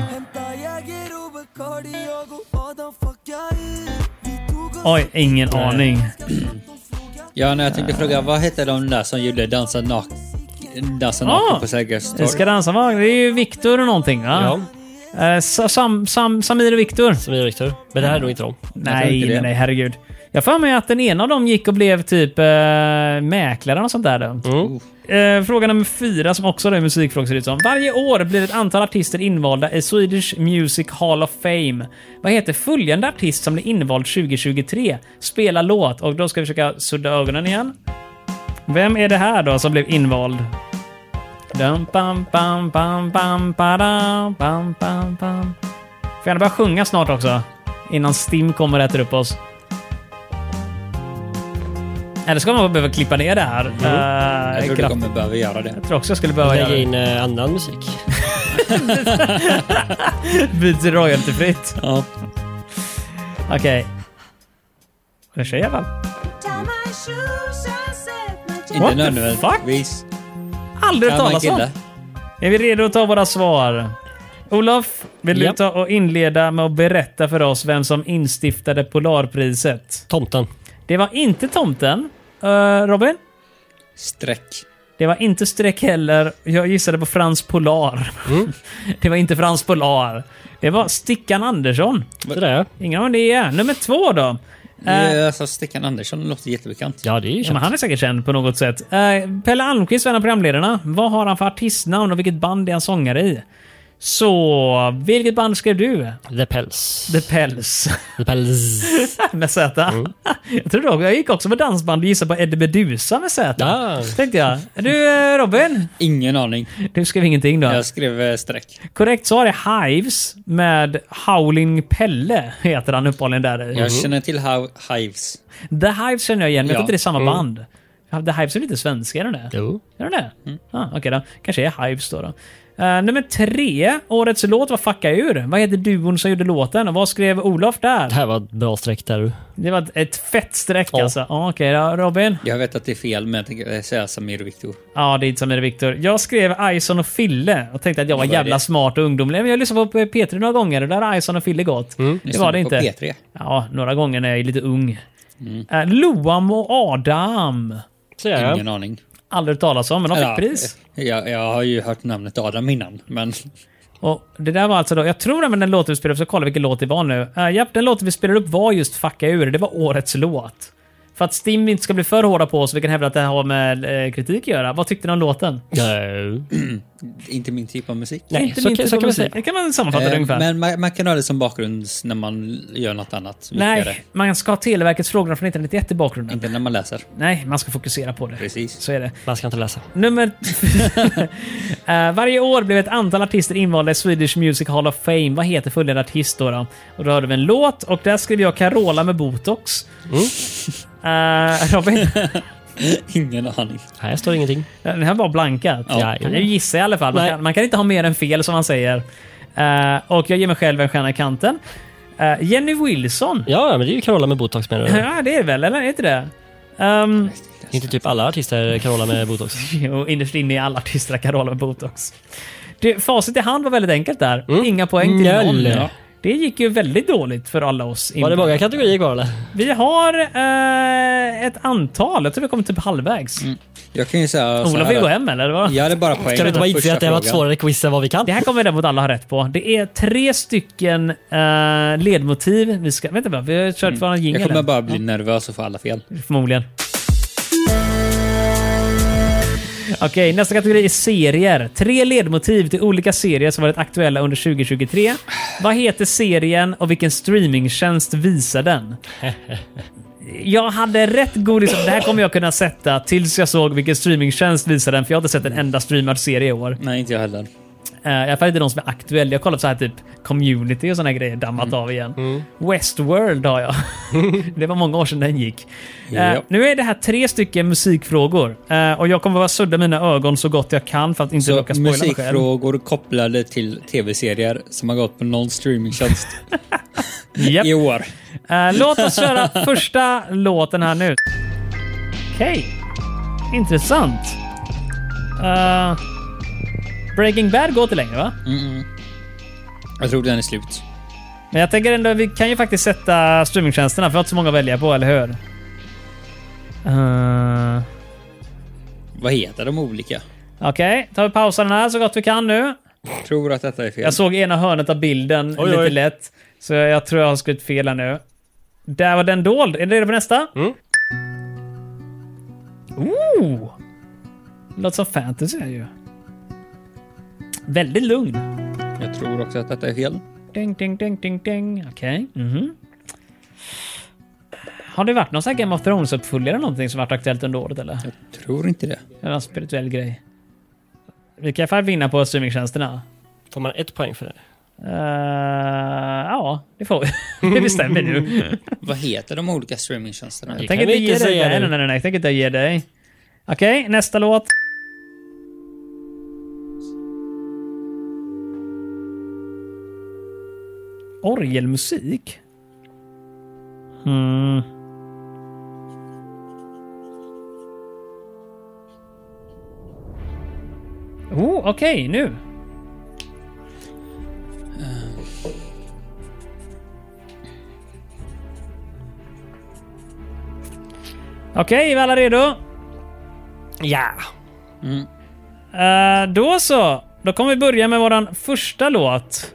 Speaker 1: Oj, ingen aning.
Speaker 4: Ja, när jag tänkte fråga, vad hette de där som gjorde Dansa naken dansa
Speaker 1: Ah!
Speaker 4: naken på Sergels
Speaker 1: Det ska
Speaker 4: torg?
Speaker 1: dansa va? Det är ju Viktor och någonting va?
Speaker 2: Ja,
Speaker 1: Eh, Sa- Sam, Sam, Samir och Viktor.
Speaker 2: som är rektor. Men det här är nog inte dem.
Speaker 4: tror
Speaker 1: Nej,
Speaker 4: inte
Speaker 1: nej,
Speaker 4: det.
Speaker 1: nej, herregud. Jag får för mig att den ena av dem gick och blev typ eh, mäklare och sånt där. Då.
Speaker 2: Mm.
Speaker 1: Eh, fråga nummer fyra som också är en musikfråga ser det ut som. Varje år blir ett antal artister invalda i Swedish Music Hall of Fame. Vad heter följande artist som blir invald 2023? Spela låt och då ska vi försöka sudda ögonen igen. Vem är det här då som blev invald? Dum, bam, bam, bam, bam, badam, bam, bam, bam. Får gärna börja sjunga snart också. Innan Stim kommer och äter upp oss. Eller ska man behöva klippa ner det här? Eh,
Speaker 4: Mm. Jag tror du
Speaker 1: kraft-
Speaker 4: kommer behöva göra det.
Speaker 1: jag tror också jag skulle behöva göra
Speaker 2: Lägga
Speaker 1: det.
Speaker 2: in eh, annan musik.
Speaker 1: Byt till royaltyfritt.
Speaker 4: Ja.
Speaker 1: Okej. Det säger jag väl? What
Speaker 4: Inte
Speaker 1: the
Speaker 4: nödvändigtvis.
Speaker 1: Aldrig hört
Speaker 4: Kan man
Speaker 1: talas om.
Speaker 4: kille?
Speaker 1: Är vi redo att ta våra svar? Olof, vill
Speaker 2: Ja.
Speaker 1: du ta och inleda med att berätta för oss vem som instiftade Polarpriset?
Speaker 2: Tomten.
Speaker 1: Det var inte tomten. Eh, Robin?
Speaker 4: Streck.
Speaker 1: Det var inte streck heller. Jag gissade på Frans Polar. det var inte Frans Polar. Det var Stickan Andersson.
Speaker 2: Det där.
Speaker 1: Ingen aning om det är. Nummer två då. Eh,
Speaker 4: Eh, Alltså, Stickan Andersson låter jättebekant.
Speaker 2: Ja, det är ju
Speaker 1: Ja, men
Speaker 2: känt.
Speaker 1: han är säkert känd på något sätt. Eh, Pelle Almqvist, en av programledarna. Vad har han för artistnamn och vilket band är han sångare i? Så, vilket band skrev du?
Speaker 2: The Pels.
Speaker 1: The Pels.
Speaker 2: The Pels.
Speaker 1: med Z. Jag tror då, jag gick också på dansband och gissade på Eddie Meduza med Z.
Speaker 2: Ah.
Speaker 1: Tänkte jag. Du eh, Robin,
Speaker 4: Ingen aning.
Speaker 1: du skrev ingenting då?
Speaker 4: Jag skrev eh, streck.
Speaker 1: Korrekt svar är Hives med Howling Pelle, heter han uppehållligen där.
Speaker 4: Jag känner till How- Hives.
Speaker 1: The Hives känner jag igen, men jag tror
Speaker 4: Ja. Mm.
Speaker 1: inte det är samma band. The Hives är lite svenska, är de det?
Speaker 2: Jo.
Speaker 1: Är de det? Ah, Okej då. Kanske är Hives då. då. Eh, nummer tre. Årets låt var Fucka Ur. Vad heter duon som gjorde låten och vad skrev Olof där?
Speaker 2: Det här var ett bra streck där du.
Speaker 1: Det var ett- ett fett streck
Speaker 2: Ja.
Speaker 1: alltså. Ah, Okej då, Robin.
Speaker 4: Jag vet att det är fel, men jag tänker eh, säga Samir och Viktor.
Speaker 1: Ja, det är inte som är det Viktor. Jag skrev Ison och Fille och tänkte att jag var
Speaker 4: Vad är
Speaker 1: jävla
Speaker 4: det?
Speaker 1: smart och ungdomlig. Men jag lyssnade på P3 några gånger och där har Ison och Fille gått. Det var det
Speaker 4: Mm. Lyssnade på
Speaker 1: inte.
Speaker 4: P3.
Speaker 1: Ja, några gånger när jag är lite ung.
Speaker 2: Mm.
Speaker 1: Eh, Loam och Adam.
Speaker 2: Så där, ja.
Speaker 4: Ingen aning.
Speaker 1: Aldrig hört talas om, men de fick pris.
Speaker 4: eh, Jag, jag har ju hört namnet Adam innan, men
Speaker 1: Och det där var alltså då, jag tror även den låten vi spelade upp, så kolla vilken låt det var nu. Uh, japp, den låten vi spelade upp var just Fucka ur, det var årets låt. För att Stim inte ska bli för hårda på oss, vi kan hävda att det här har med eh, kritik att göra. Vad tyckte ni om låten?
Speaker 2: Jo.
Speaker 4: inte min typ av musik.
Speaker 2: Nej,
Speaker 1: inte
Speaker 2: så
Speaker 1: min
Speaker 2: kan-
Speaker 1: typ
Speaker 2: så
Speaker 1: av
Speaker 2: kan man
Speaker 1: musik.
Speaker 2: säga.
Speaker 1: Det kan man sammanfatta det
Speaker 4: Eh,
Speaker 1: ungefär.
Speaker 4: Men man, man kan ha det som bakgrund när man gör något annat. viktigare.
Speaker 1: Nej, man ska ha Televerkets frågor från 1991 i bakgrunden.
Speaker 4: Inte när man läser.
Speaker 1: Nej, man ska fokusera på det.
Speaker 2: Mm.
Speaker 4: Precis.
Speaker 1: Så är det.
Speaker 2: Man ska inte läsa.
Speaker 1: Nummer... Eh, varje år blev ett antal artister invalda i Swedish Music Hall of Fame. Vad heter fulländad artist då? då? Och då hörde vi en låt och där skrev jag Carola med Botox.
Speaker 2: Mm.
Speaker 1: Eh, Robin,
Speaker 4: Ingen aning.
Speaker 2: Här står ingenting.
Speaker 1: den här var blanka.
Speaker 2: Ja,
Speaker 1: jag kan ju gissa i alla fall. Man
Speaker 2: Nej.
Speaker 1: kan, man kan inte ha mer än fel som man säger. Eh, och jag ger mig själv en stjärna i kanten. Eh, Jenny Wilson.
Speaker 2: Ja, men det är ju Carola med botox menar du?
Speaker 1: Ja, det är det väl, eller? Är det inte det? Ehm,
Speaker 2: inte typ alla artister Carola med botox?
Speaker 1: och innerst inne är alla artister Carola med botox. Det, facit i hand var väldigt enkelt där. Inga poäng till
Speaker 2: Noll.
Speaker 1: någon. Det gick ju väldigt dåligt för alla oss.
Speaker 2: Var det
Speaker 1: inblandade.
Speaker 2: många kategorier kvar eller?
Speaker 1: Vi har eh, ett antal. Jag tror vi kommer typ halvvägs.
Speaker 4: Jag kan ju säga så
Speaker 1: Olof
Speaker 4: här
Speaker 1: vill gå
Speaker 4: att-
Speaker 1: hem eller? Vad?
Speaker 4: Jag hade bara poäng.
Speaker 2: Kan vi inte bara
Speaker 4: på
Speaker 2: inse
Speaker 4: första
Speaker 2: att det här var ett
Speaker 4: frågan.
Speaker 2: svårare quiz än vad vi kan?
Speaker 1: Det här kommer vi däremot alla ha rätt på. Det är tre stycken eh, ledmotiv. Vi ska... Vänta bara, vi har kört mm. våran
Speaker 4: Jag
Speaker 1: jingel.
Speaker 4: kommer
Speaker 1: än.
Speaker 4: bara bli nervös och få alla fel.
Speaker 1: Förmodligen. Okej, nästa kategori är serier. Tre ledmotiv till olika serier som varit aktuella under 2023. Vad heter serien och vilken streamingtjänst visar den? Jag hade rätt god liksom, Det här kommer jag kunna sätta tills jag såg vilken streamingtjänst visar den, för jag har inte sett en enda streamad serie i år.
Speaker 4: Nej, inte jag heller.
Speaker 1: Uh, I alla fall inte de som är aktuella. Jag har kollat så här typ community och såna här grejer, dammat
Speaker 4: Mm.
Speaker 1: av igen. Westworld har jag. det var många år sedan den gick. Eh,
Speaker 4: Ja.
Speaker 1: nu är det här tre stycken musikfrågor Eh, och jag kommer bara sudda mina ögon så gott jag kan för att inte råka
Speaker 4: Så
Speaker 1: spoila mig själv.
Speaker 4: musikfrågor kopplade till tv-serier som har gått på någon streamingtjänst
Speaker 1: Japp.
Speaker 4: i år.
Speaker 1: Eh, låt oss köra första låten här nu. Okej. Intressant. Eh, Breaking Bad går inte längre va?
Speaker 4: Jag tror den är slut.
Speaker 1: Men jag tänker ändå, vi kan ju faktiskt sätta streamingtjänsterna för vi har inte så många att välja på, eller hur? Eh,
Speaker 4: Vad heter de olika?
Speaker 1: Okej, tar vi pausen här så gott vi kan nu.
Speaker 4: Jag tror att detta är fel.
Speaker 1: Jag såg ena hörnet av bilden
Speaker 2: Oj,
Speaker 1: lite
Speaker 2: oj.
Speaker 1: lätt. Så jag tror jag har skrivit fel här nu. Där var den dold. Är det redo för nästa?
Speaker 2: Mm.
Speaker 1: Ooh! Låter som fantasy här ju. Väldigt lugn.
Speaker 4: Jag tror också att detta är fel.
Speaker 1: Ding, ding, ding, ding, ding. Okej. Mhm. Har det varit någon sån här Game of Thrones-uppföljare eller någonting som varit aktuellt under året eller?
Speaker 4: Jag tror inte det.
Speaker 1: Eller en spirituell grej? Vi kan i alla fall vinna på streamingtjänsterna.
Speaker 2: Får man ett poäng för det?
Speaker 1: Eh, ja, det får vi. det bestämmer nu.
Speaker 4: Vad heter de olika streamingtjänsterna?
Speaker 2: Det
Speaker 1: Jag tänker
Speaker 2: kan vi
Speaker 1: inte
Speaker 2: inte
Speaker 1: ge dig
Speaker 2: säga
Speaker 1: Nej,
Speaker 2: nu.
Speaker 1: nej, nej, nej. Jag tänker inte ge dig. Okej, nästa låt. Orgelmusik? Hmm. Oh, okej, nu. Okej, är vi alla redo? Mm.
Speaker 2: Ja.
Speaker 1: Eh, då så. Då kommer vi börja med våran första låt.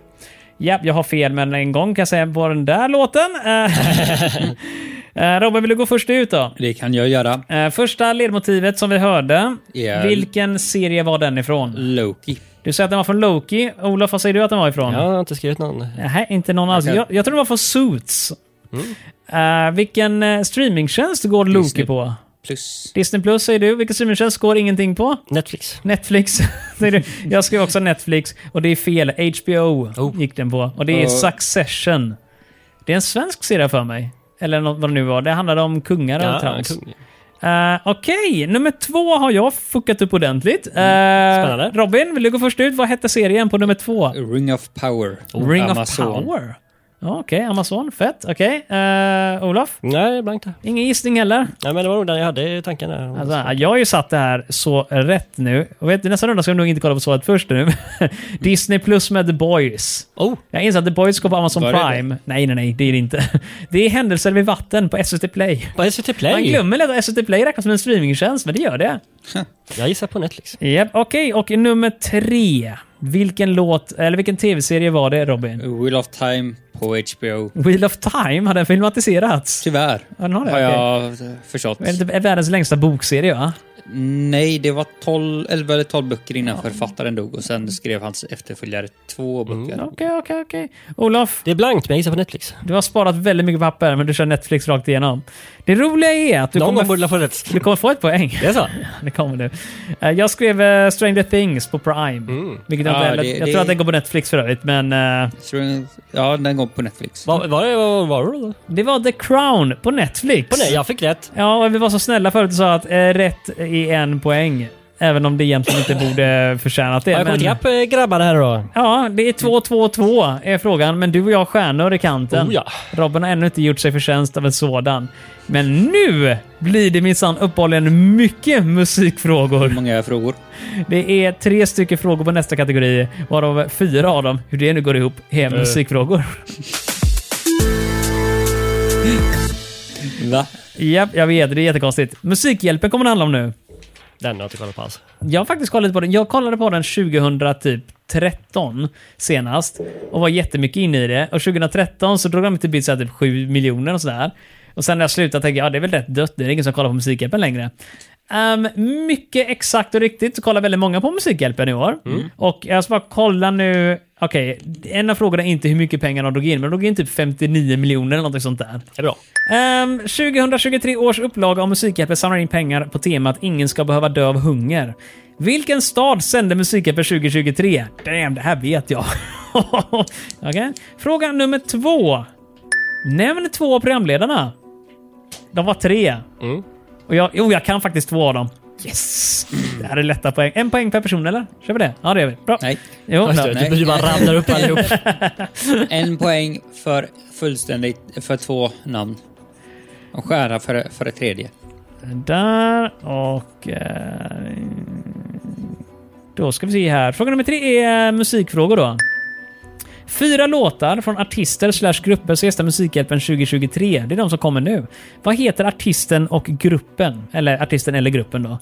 Speaker 1: Ja, jag har fel men en gång kan jag säga på den där låten. Eh, eh, Robin, vill du gå först ut då?
Speaker 4: Det kan jag göra.
Speaker 1: Eh, första ledmotivet som vi hörde.
Speaker 4: Ja.
Speaker 1: Vilken serie var den ifrån?
Speaker 4: Loki.
Speaker 1: Du säger att den var från Loki. Olof, vad säger du att den var ifrån?
Speaker 2: Jag har inte skrivit någon.
Speaker 1: Nej, inte någon alls.
Speaker 4: Okej.
Speaker 1: Jag, jag tror den var från Suits. Eh, vilken eh, streamingtjänst går Loki
Speaker 4: Disney.
Speaker 1: på?
Speaker 4: Plus.
Speaker 1: Disney Plus säger du. Vilken streamingtjänst går ingenting på?
Speaker 2: Netflix.
Speaker 1: Netflix. säger du. jag skrev också Netflix och det är fel. HBO gick den på. Och det är
Speaker 4: Ja.
Speaker 1: Succession. Det är en svensk serie för mig. Eller något, vad det nu var. Det handlade om kungar och trams.
Speaker 2: kung.
Speaker 1: Eh, Okej, nummer två har jag fuckat upp ordentligt. Eh,
Speaker 2: Spännande.
Speaker 1: Robin, vill du gå först ut? Vad hette serien på nummer två?
Speaker 4: Ring of Power.
Speaker 1: Oh, Ring
Speaker 4: Amazon.
Speaker 1: of Power. Ja, Okej, Amazon. Fett. Okej. Eh, Olof?
Speaker 2: Nej, blankt där.
Speaker 1: Ingen gissning heller?
Speaker 2: Nej, men det var nog den jag hade i tanken. Där.
Speaker 1: Alltså, jag har ju satt det här så rätt nu. Och vet du, nästa runda ska vi nog inte kolla på svaret först nu. Disney plus med The Boys.
Speaker 2: oh,
Speaker 1: Jag inser att The Boys går på Amazon
Speaker 4: Var det
Speaker 1: Prime. Nej, nej, nej, det är det inte. Det är Händelser vid vatten på SVT Play.
Speaker 2: på SVT Play.
Speaker 1: Man glömmer lätt att SVT Play räknas som en streamingtjänst, men det gör det.
Speaker 2: Jag gissar på Netflix.
Speaker 1: Japp, okej. Och nummer tre. Vilken låt, eller vilken tv-serie var det, Robin?
Speaker 4: Wheel of Time på HBO.
Speaker 1: Wheel of Time, har den filmatiserats?
Speaker 4: Tyvärr.
Speaker 1: Ja, den har det,
Speaker 4: har
Speaker 1: okej.
Speaker 4: jag förstått.
Speaker 1: Det är typ världens längsta bokserie, va?
Speaker 4: Nej, det var 12, 11 eller 12 böcker innan författaren dog och sen skrev hans efterföljare två böcker.
Speaker 1: Okej, okej, okej. Olof,
Speaker 2: Det är blankt, men jag gissar på Netflix.
Speaker 1: Du har sparat väldigt mycket papper, men du kör Netflix rakt igenom. Det roliga är att du,
Speaker 2: Någon
Speaker 1: kommer,
Speaker 2: gång borde jag få rätt.
Speaker 1: du kommer få ett poäng.
Speaker 2: Det är så?
Speaker 1: Det kommer du. Eh, Jag skrev eh, Stranger Things på Prime.
Speaker 2: Mm.
Speaker 1: Vilket jag,
Speaker 4: Ja,
Speaker 1: inte,
Speaker 4: det-
Speaker 1: jag tror
Speaker 4: det-
Speaker 1: att den går på Netflix för övrigt, men eh,
Speaker 4: Så, ja, den går på Netflix.
Speaker 2: Var, var det var, var, det då?
Speaker 1: det var The Crown på Netflix.
Speaker 2: På nej, jag fick rätt.
Speaker 1: Ja, och vi var så snälla förut och sa att eh, rätt är en poäng. Även om det egentligen inte borde förtjänat det.
Speaker 2: Har jag kommit ikapp eh, grabbarna här då?
Speaker 1: ja, det är 2-2-2 är frågan, men du och jag har stjärnor i kanten.
Speaker 2: Oh ja.
Speaker 1: Robin har ännu inte gjort sig förtjänst av en sådan. Men nu blir det minsann uppehålligen mycket musikfrågor.
Speaker 4: Många frågor.
Speaker 1: Det är tre stycken frågor på nästa kategori, varav fyra av dem, hur det nu går ihop, är musikfrågor.
Speaker 4: Va?
Speaker 1: Japp, jag vet, det är jättekonstigt. Musikhjälpen kommer det handla om nu.
Speaker 2: Den har jag inte kollat på alls.
Speaker 1: Jag har faktiskt kollat på den. Jag kollade på den 2013 senast och var jättemycket inne i det. Och 2013 så drog de till bit så här typ 7 miljoner och sådär. Och sen när jag slutade tänkte jag, ja det är väl rätt dött, det är ingen som kollar på Musikhjälpen längre. Ehm, mycket exakt och riktigt så kollar väldigt många på Musikhjälpen i år. Och jag ska bara kolla nu, okej, en av frågorna är inte hur mycket pengar de drog in, men de drog in typ 59 miljoner eller något sånt där.
Speaker 2: Det är bra.
Speaker 1: Ehm, 2023 års upplaga av Musikhjälpen samlar in pengar på temat Ingen ska behöva dö av hunger. Vilken stad sände Musikhjälpen 2023? Damn, det här vet jag. Okej. Fråga nummer två. Nämn två av programledarna. De var tre.
Speaker 2: Mm.
Speaker 1: Och jag, jo, jag kan faktiskt två av dem. Yes! Det här är lätta poäng. En poäng per person eller? Kör vi det? Ja, det gör vi. Bra.
Speaker 4: Nej.
Speaker 1: Jo,
Speaker 2: Fast
Speaker 1: bra.
Speaker 2: du,
Speaker 4: nej.
Speaker 2: du, du bara rabblar upp allihop.
Speaker 4: En poäng för fullständigt för två namn. Och stjärna för, för det tredje.
Speaker 1: Där och... Eh, då ska vi se här. Fråga nummer tre är musikfrågor då. Fyra låtar från artister slash grupper som gästar Musikhjälpen 2023. Det är de som kommer nu. Vad heter artisten och gruppen? Eller artisten eller gruppen då.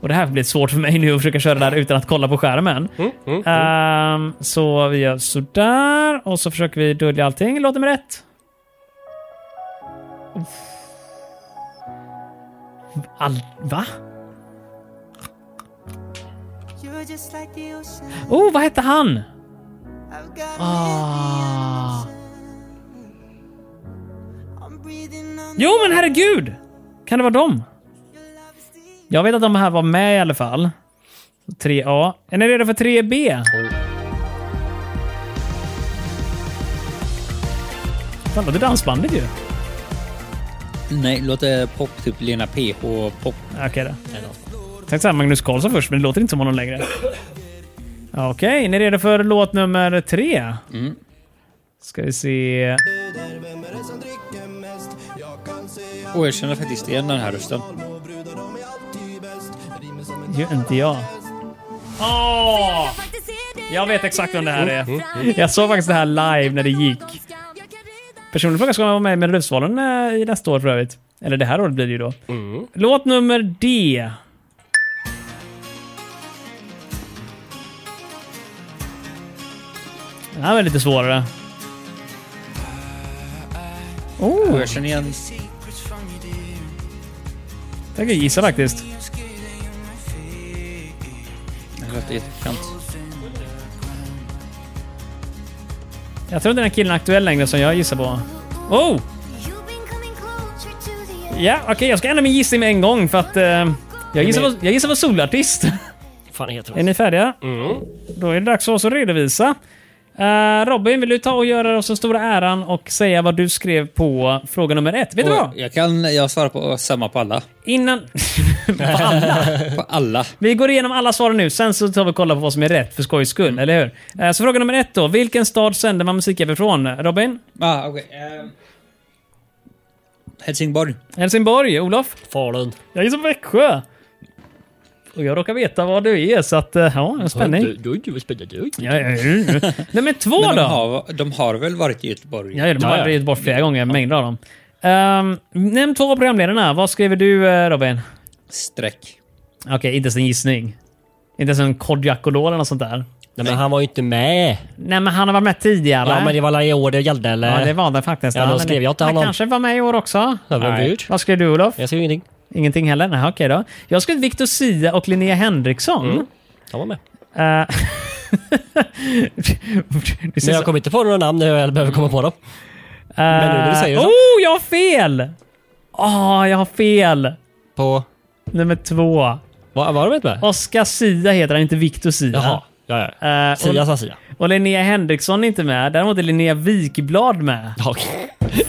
Speaker 1: Och det här blir svårt för mig nu att försöka köra det här utan att kolla på skärmen. Ehm, så vi gör sådär och så försöker vi dölja allting. Låt nummer ett. All... Va?
Speaker 5: You're just like the ocean.
Speaker 1: Oh, vad hette han?
Speaker 5: I've got
Speaker 1: Ah.
Speaker 5: I'm breathing on
Speaker 1: Jo, men herregud! Kan det vara dem? Jag vet att de här var med i alla fall. 3A. Är ni redo för 3B? Fan, det är dansbandet ju.
Speaker 4: Nej, låter pop, typ Lena PH pop.
Speaker 1: Okej då. Jag tänkte säga Magnus Karlsson först, men det låter inte som honom längre. Okej, är ni är redo för låt nummer tre? Ska vi se...
Speaker 4: Och jag känner faktiskt igen den här rösten.
Speaker 1: Det gör inte jag. Åh! Jag vet exakt vem det här
Speaker 2: Mm.
Speaker 1: är. Jag såg faktiskt det här live när det gick. Personlig fråga ska vara med i Melodifestivalen eh, i nästa år för övrigt. Eller det här året blir det ju då. Låt nummer D. Den här var lite svårare.
Speaker 4: Och
Speaker 1: Oh,
Speaker 4: jag känner igen...
Speaker 1: jag tänker gissa faktiskt.
Speaker 4: Det låter jättebekant.
Speaker 1: Jag tror inte den här killen är aktuell längre som jag gissar på. Oh! Ja, okej, jag ska ändra min gissning med en gång för att... eh, jag, gissar på, jag gissar på solartist.
Speaker 2: fan heter
Speaker 1: Är
Speaker 2: den?
Speaker 1: ni färdiga? Då är det dags för oss att redovisa. Eh, Robin, vill du ta och göra oss den stora äran och säga vad du skrev på fråga nummer ett? Vet du vad?
Speaker 4: Och jag kan... Jag svarar på samma på alla.
Speaker 1: Innan... På alla.
Speaker 4: På alla.
Speaker 1: Vi går igenom alla svaren nu, sen så tar vi och kollar på vad som är rätt för skojs skull, eller hur? Eh, Så fråga nummer ett då. Vilken stad sänder man musik ifrån? Robin?
Speaker 4: Ah, okej. ehm. Helsingborg.
Speaker 1: Helsingborg? Olof?
Speaker 2: Falun.
Speaker 1: Jag är som Växjö. Och jag råkar veta vad du är, så att eh, ja, en spänning.
Speaker 2: Du, du, vad spännande. Oj.
Speaker 1: Ja, ja, ja. Nummer två
Speaker 4: Men
Speaker 1: då?
Speaker 4: de har, de har väl varit i Göteborg?
Speaker 1: Ja, de har
Speaker 2: Ja, ja.
Speaker 1: drivit bort flera gånger, mängder av dem. Ehm, nämn två av programledarna. Vad skriver du eh, Robin?
Speaker 4: Streck.
Speaker 1: Okej, inte ens en gissning. Inte ens en Kodjakolo eller något sånt där.
Speaker 2: Nej, men han var ju inte med.
Speaker 1: Nej, men han har varit med tidigare.
Speaker 2: Ja, men det var alla i år det gällde eller?
Speaker 1: Ja, det var det faktiskt.
Speaker 2: Ja, då
Speaker 1: men
Speaker 2: skrev jag till
Speaker 1: han
Speaker 2: honom.
Speaker 1: kanske var med i år också.
Speaker 2: Ja, vem
Speaker 4: Nej.
Speaker 2: vet?
Speaker 1: Vad skrev du Olof?
Speaker 2: Jag ser ju ingenting.
Speaker 1: Ingenting heller? Nej, okej då. Jag skrev Victor Sia och Linnea Henriksson.
Speaker 2: Mm. Han var med.
Speaker 1: Eh, det ser
Speaker 2: Men
Speaker 1: så-
Speaker 2: jag kommer inte på några namn när jag väl behöver komma på dem. men nu när du säger
Speaker 1: Eh,
Speaker 2: det så-
Speaker 1: Oh, jag har fel! Åh, jag har fel!
Speaker 2: På...
Speaker 1: Nummer två.
Speaker 2: Var, var de inte med?
Speaker 1: Oscar Sia heter han, inte Victor Sia.
Speaker 2: Jaha. Ja, ja.
Speaker 1: Eh,
Speaker 2: Äh, Sia sa Sia.
Speaker 1: och, och Linnea Henriksson är inte med. Däremot är Linnea Wikblad med.
Speaker 2: Ja,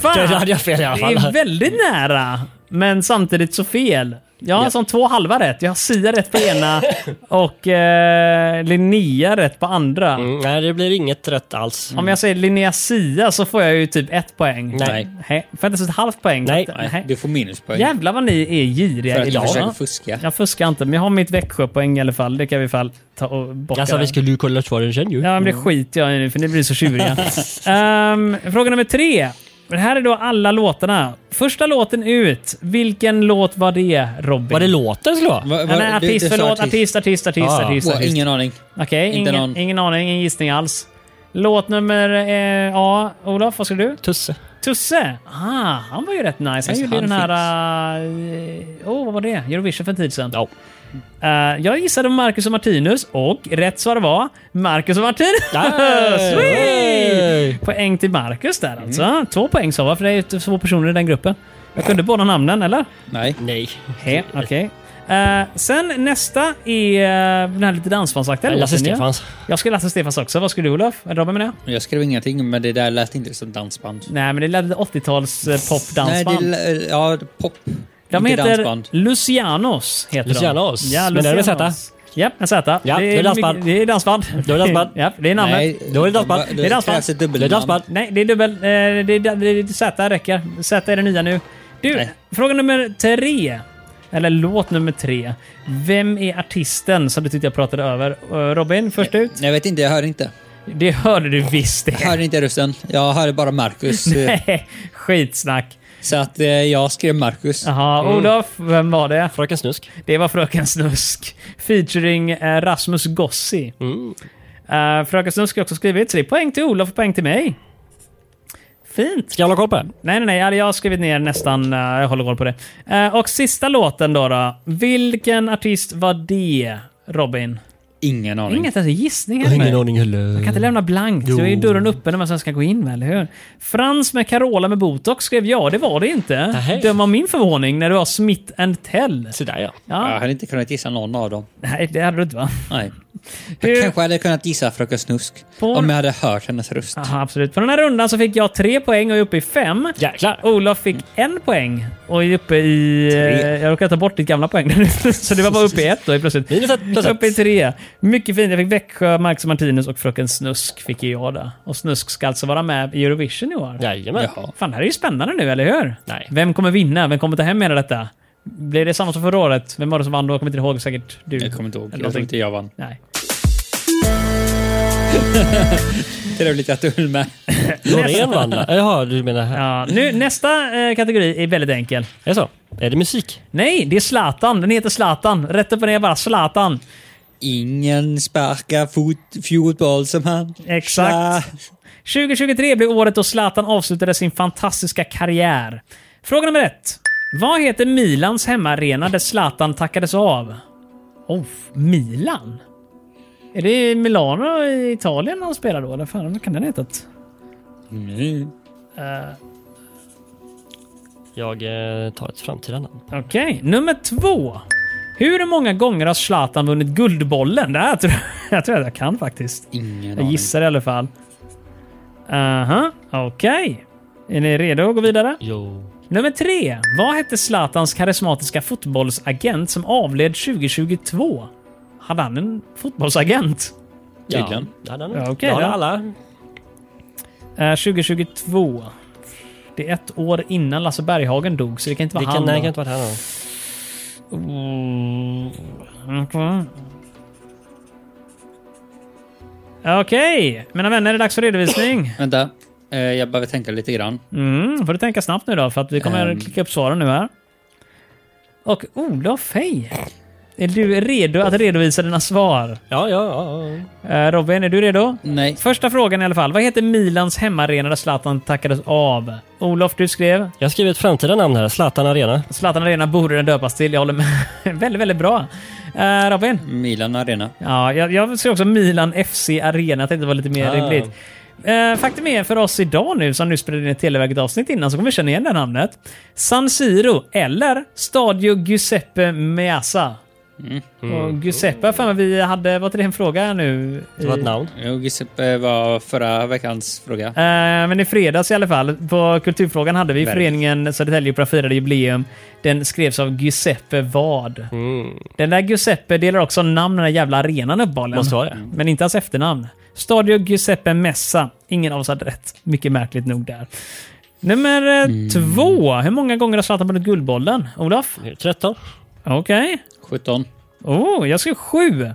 Speaker 1: Fan!
Speaker 2: Det hade jag fel i alla
Speaker 1: Det är
Speaker 2: fall.
Speaker 1: väldigt nära, men samtidigt så fel. Jag har som två halva rätt. Jag har Sia rätt på ena och eh, Linnea rätt på andra.
Speaker 2: Mm, nej, det blir inget rätt alls.
Speaker 1: Om jag säger Linnea Sia så får jag ju typ ett poäng.
Speaker 2: Nej.
Speaker 1: Nej. Får jag inte ens ett halvt poäng?
Speaker 2: Nej.
Speaker 4: Nej, du får minuspoäng.
Speaker 1: Jävlar vad ni är
Speaker 4: för
Speaker 1: giriga
Speaker 4: att jag
Speaker 1: idag.
Speaker 4: försöker fuska.
Speaker 1: Jag fuskar inte, men jag har mitt Växjöpoäng i alla fall. Det kan vi i alla fall ta och bocka.
Speaker 2: Jag sa
Speaker 4: Alltså,
Speaker 1: där.
Speaker 2: vi skulle ju kolla svaren sen ju.
Speaker 1: Ja, men det
Speaker 4: Mm.
Speaker 1: skiter jag i nu för ni blir så tjuriga. Ehm, fråga nummer tre. Det här är då alla låtarna. Första låten ut. Vilken låt var det, Robin?
Speaker 2: Var det låten skulle vara?
Speaker 4: Va- va-
Speaker 1: Nej, nej,
Speaker 4: du-
Speaker 1: artist,
Speaker 4: du sa
Speaker 1: förlåt. Artist, artist, artist,
Speaker 2: Ja, ja.
Speaker 1: artist.
Speaker 4: Åh,
Speaker 1: artist.
Speaker 4: ingen aning.
Speaker 1: Okej,
Speaker 4: inte
Speaker 1: ingen,
Speaker 4: någon.
Speaker 1: ingen aning, ingen gissning alls. Låt nummer eh, A. Olof, vad ska du?
Speaker 2: Tusse.
Speaker 1: Tusse! Ah, han var ju rätt nice. Han
Speaker 4: Just,
Speaker 1: gjorde ju
Speaker 4: han
Speaker 1: den här... eh, Åh, vad var det? Eurovision för en tid sedan.
Speaker 2: Ja.
Speaker 1: Eh, jag gissade Marcus och Martinus och rätt svar var Marcus och Martinus!
Speaker 2: Hey!
Speaker 1: Poäng till Marcus där alltså. Två poäng sa jag, för det är ju två personer i den gruppen. Jag kunde båda namnen, eller?
Speaker 4: Nej.
Speaker 2: Nej.
Speaker 1: He, okej. Eh, sen nästa är eh, den här lite dansbandsaktiga
Speaker 2: Lasse
Speaker 1: låten, ja.
Speaker 2: Stefans.
Speaker 1: Jag skulle Lasse Stefans också. Vad skulle du Olof? Eller Robin menar jag?
Speaker 4: Jag skrev ingenting, men det där lät inte som dansband.
Speaker 1: Nej, men det lät lite 80-tals eh,
Speaker 4: Nej,
Speaker 1: popdansband.
Speaker 4: det, lä- ja, pop.
Speaker 1: de
Speaker 4: inte
Speaker 1: heter
Speaker 4: dansband.
Speaker 1: Lucianos. Heter
Speaker 2: Lucianos.
Speaker 1: De. Ja,
Speaker 2: Men det är med Z?
Speaker 1: Lucianos. Ja, med Z.
Speaker 2: Ja, det är dansband.
Speaker 1: mycket- Det är dansband.
Speaker 2: Det är dansband.
Speaker 1: ja, det är namnet.
Speaker 4: Nej,
Speaker 2: Då är det dansband.
Speaker 4: de-
Speaker 1: Det är dansband.
Speaker 4: krävs ett dubbelnamn.
Speaker 2: Det är dansband.
Speaker 1: Nej, det är dubbel. Eh, det, är, det, är- Z räcker. Z är det nya nu. Du,
Speaker 4: Nej.
Speaker 1: fråga nummer tre. Eller låt nummer tre. Vem är artisten som du tyckte jag pratade över? Eh, Robin, först ut.
Speaker 4: Nej, Jag vet inte, jag hör inte.
Speaker 1: Det hörde du visst
Speaker 4: Jag
Speaker 1: det.
Speaker 4: hör inte rösten. Jag hör bara Marcus. eh,
Speaker 1: Nej, Skitsnack.
Speaker 4: så att eh, jag skrev Marcus.
Speaker 1: Jaha, Olof, vem var det?
Speaker 2: Fröken Snusk.
Speaker 1: Det var Fröken Snusk. Featuring eh, Rasmus Gossi.
Speaker 2: Mm.
Speaker 1: Eh, Fröken Snusk har också skrivit, så det är poäng till Olof och poäng till mig. Fint.
Speaker 2: Ska jag hålla koll på den?
Speaker 1: Nej, nej, nej. alltså, Jag har skrivit ner nästan. eh, Jag håller koll på det. Eh, Och sista låten då, då. Vilken artist var det, Robin?
Speaker 4: Ingen aning.
Speaker 1: Inget ens en gissning
Speaker 2: Jag har
Speaker 1: heller.
Speaker 2: ingen
Speaker 1: Jag
Speaker 2: aning heller.
Speaker 1: kan inte lämna blankt. Då är ju
Speaker 2: Jo.
Speaker 1: dörren öppen när man sen ska gå in, eller hur? Frans med Carola med botox skrev jag. Det var det inte.
Speaker 2: Nähä.
Speaker 1: Döm av min förvåning när det var Smith and Tell.
Speaker 2: Så där ja.
Speaker 1: Ja,
Speaker 4: Jag hade inte kunnat gissa någon av dem.
Speaker 1: Nej, det hade du inte va?
Speaker 4: Nej.
Speaker 1: Hur-
Speaker 4: Jag kanske hade kunnat gissa Fröken Snusk.
Speaker 1: Får-
Speaker 4: Om jag hade hört hennes röst.
Speaker 1: Aha, absolut. På den här rundan så fick jag tre poäng och är uppe i fem.
Speaker 2: Jäklar.
Speaker 1: Olof fick en poäng och är uppe i... eh, Jag råkade ta bort ditt gamla poäng där nu. så det var bara uppe i ett då helt plötsligt.
Speaker 2: Minus ett, plus ett.
Speaker 1: Uppe i tre. Mycket fint. Jag fick Växjö, Marcus och Martinus och Fröken Snusk fick ju jag där. Och Snusk ska alltså vara med i Eurovision i år.
Speaker 2: Jajamän.
Speaker 4: Jaha.
Speaker 1: Fan, det här är ju spännande nu, eller hur?
Speaker 2: Nej.
Speaker 1: Vem kommer vinna? Vem kommer ta hem hela detta? Blir det samma som förra året? Vem var det som vann då? Jag kommer inte ihåg. Säkert du.
Speaker 4: Jag kommer inte ihåg.
Speaker 1: Eller
Speaker 4: Jag
Speaker 1: någonting.
Speaker 4: tror inte jag vann.
Speaker 1: Nej.
Speaker 4: Trevligt att du höll med.
Speaker 2: Loreen vann där. Jaha, du menar här.
Speaker 1: Ja, nu, nästa eh, kategori är väldigt enkel.
Speaker 2: Är det så? Är det musik?
Speaker 1: Nej, det är Zlatan. Den heter Zlatan. Rätt upp och ner bara Zlatan.
Speaker 4: Ingen sparkar fot, fotboll som han.
Speaker 1: Exakt. 2023 blev året då Zlatan avslutade sin fantastiska karriär. Fråga nummer ett. Vad heter Milans hemmaarena där Zlatan tackades av? Oh, Milan? Är det i Milano i Italien han spelar då? Eller fan, vad kan den heta?
Speaker 4: Mm.
Speaker 2: Jag eh, tar ett framtida namn.
Speaker 1: Okej, nummer två. Hur många gånger har Zlatan vunnit Guldbollen? Det här tror jag, jag tror att jag kan faktiskt.
Speaker 4: Ingen
Speaker 1: Jag
Speaker 4: aning.
Speaker 1: gissar i alla fall. Aha, okej. Är ni redo att gå vidare?
Speaker 2: Jo.
Speaker 1: Nummer tre. Vad hette Zlatans karismatiska fotbollsagent som avled 2022? Hade han en fotbollsagent?
Speaker 4: Tydligen.
Speaker 2: Ja, den,
Speaker 1: Ja, okej
Speaker 2: ja,
Speaker 1: då.
Speaker 2: alla.
Speaker 1: Eh, 2022. Det är ett år innan Lasse Berghagen dog, så det kan inte vara
Speaker 2: Vilken, nej,
Speaker 1: han.
Speaker 2: jag kan
Speaker 1: då.
Speaker 2: inte varit här någon.
Speaker 1: Mm, okej. Okej, mina vänner, det är dags för redovisning.
Speaker 4: Vänta. Eh, Jag behöver tänka lite grann.
Speaker 1: Mm, får du tänka snabbt nu då, för att vi kommer
Speaker 4: Ehm.
Speaker 1: klicka upp svaren nu här. Och Olof, hej! Är du redo att redovisa dina svar?
Speaker 2: Ja, ja, ja. ja.
Speaker 1: Eh, Robin, är du redo?
Speaker 4: Nej.
Speaker 1: Första frågan i alla fall. Vad heter Milans hemmaarena där Zlatan tackades av? Olof, du skrev
Speaker 2: Jag skriver ett framtida namn här. Zlatan Arena.
Speaker 1: Zlatan Arena borde den döpas till. Jag håller med. väldigt, väldigt bra. Eh, Robin?
Speaker 4: Milan Arena.
Speaker 1: Ja, jag, jag ser också Milan FC Arena. Jag tänkte det var lite mer
Speaker 2: Ah.
Speaker 1: rimligt. Eh, faktum är för oss idag nu som nu spelade in ett Televerket-avsnitt innan så kommer vi känna igen det här namnet. San Siro eller Stadio Giuseppe Meazza. Och Giuseppe för mig vi hade, var till en fråga nu?
Speaker 2: Det var
Speaker 1: i-
Speaker 2: ett namn.
Speaker 4: Jo, Giuseppe var förra veckans fråga.
Speaker 1: Eh, men i fredags i alla fall, på Kulturfrågan hade vi ju
Speaker 4: Verkligen.
Speaker 1: föreningen Södertälje Opera firade jubileum. Den skrevs av Giuseppe Vad.
Speaker 2: Mm.
Speaker 1: Den där Giuseppe delar också namn med den där jävla arenan uppenbarligen.
Speaker 2: Måste vara det.
Speaker 1: Men inte hans efternamn. Stadio Giuseppe Messa. Ingen av oss hade rätt. Mycket märkligt nog där. Nummer eh, två. Hur många gånger har Zlatan vunnit Guldbollen? Olof?
Speaker 2: 13.
Speaker 1: Okej.
Speaker 4: 17.
Speaker 1: Oh, jag skrev sju.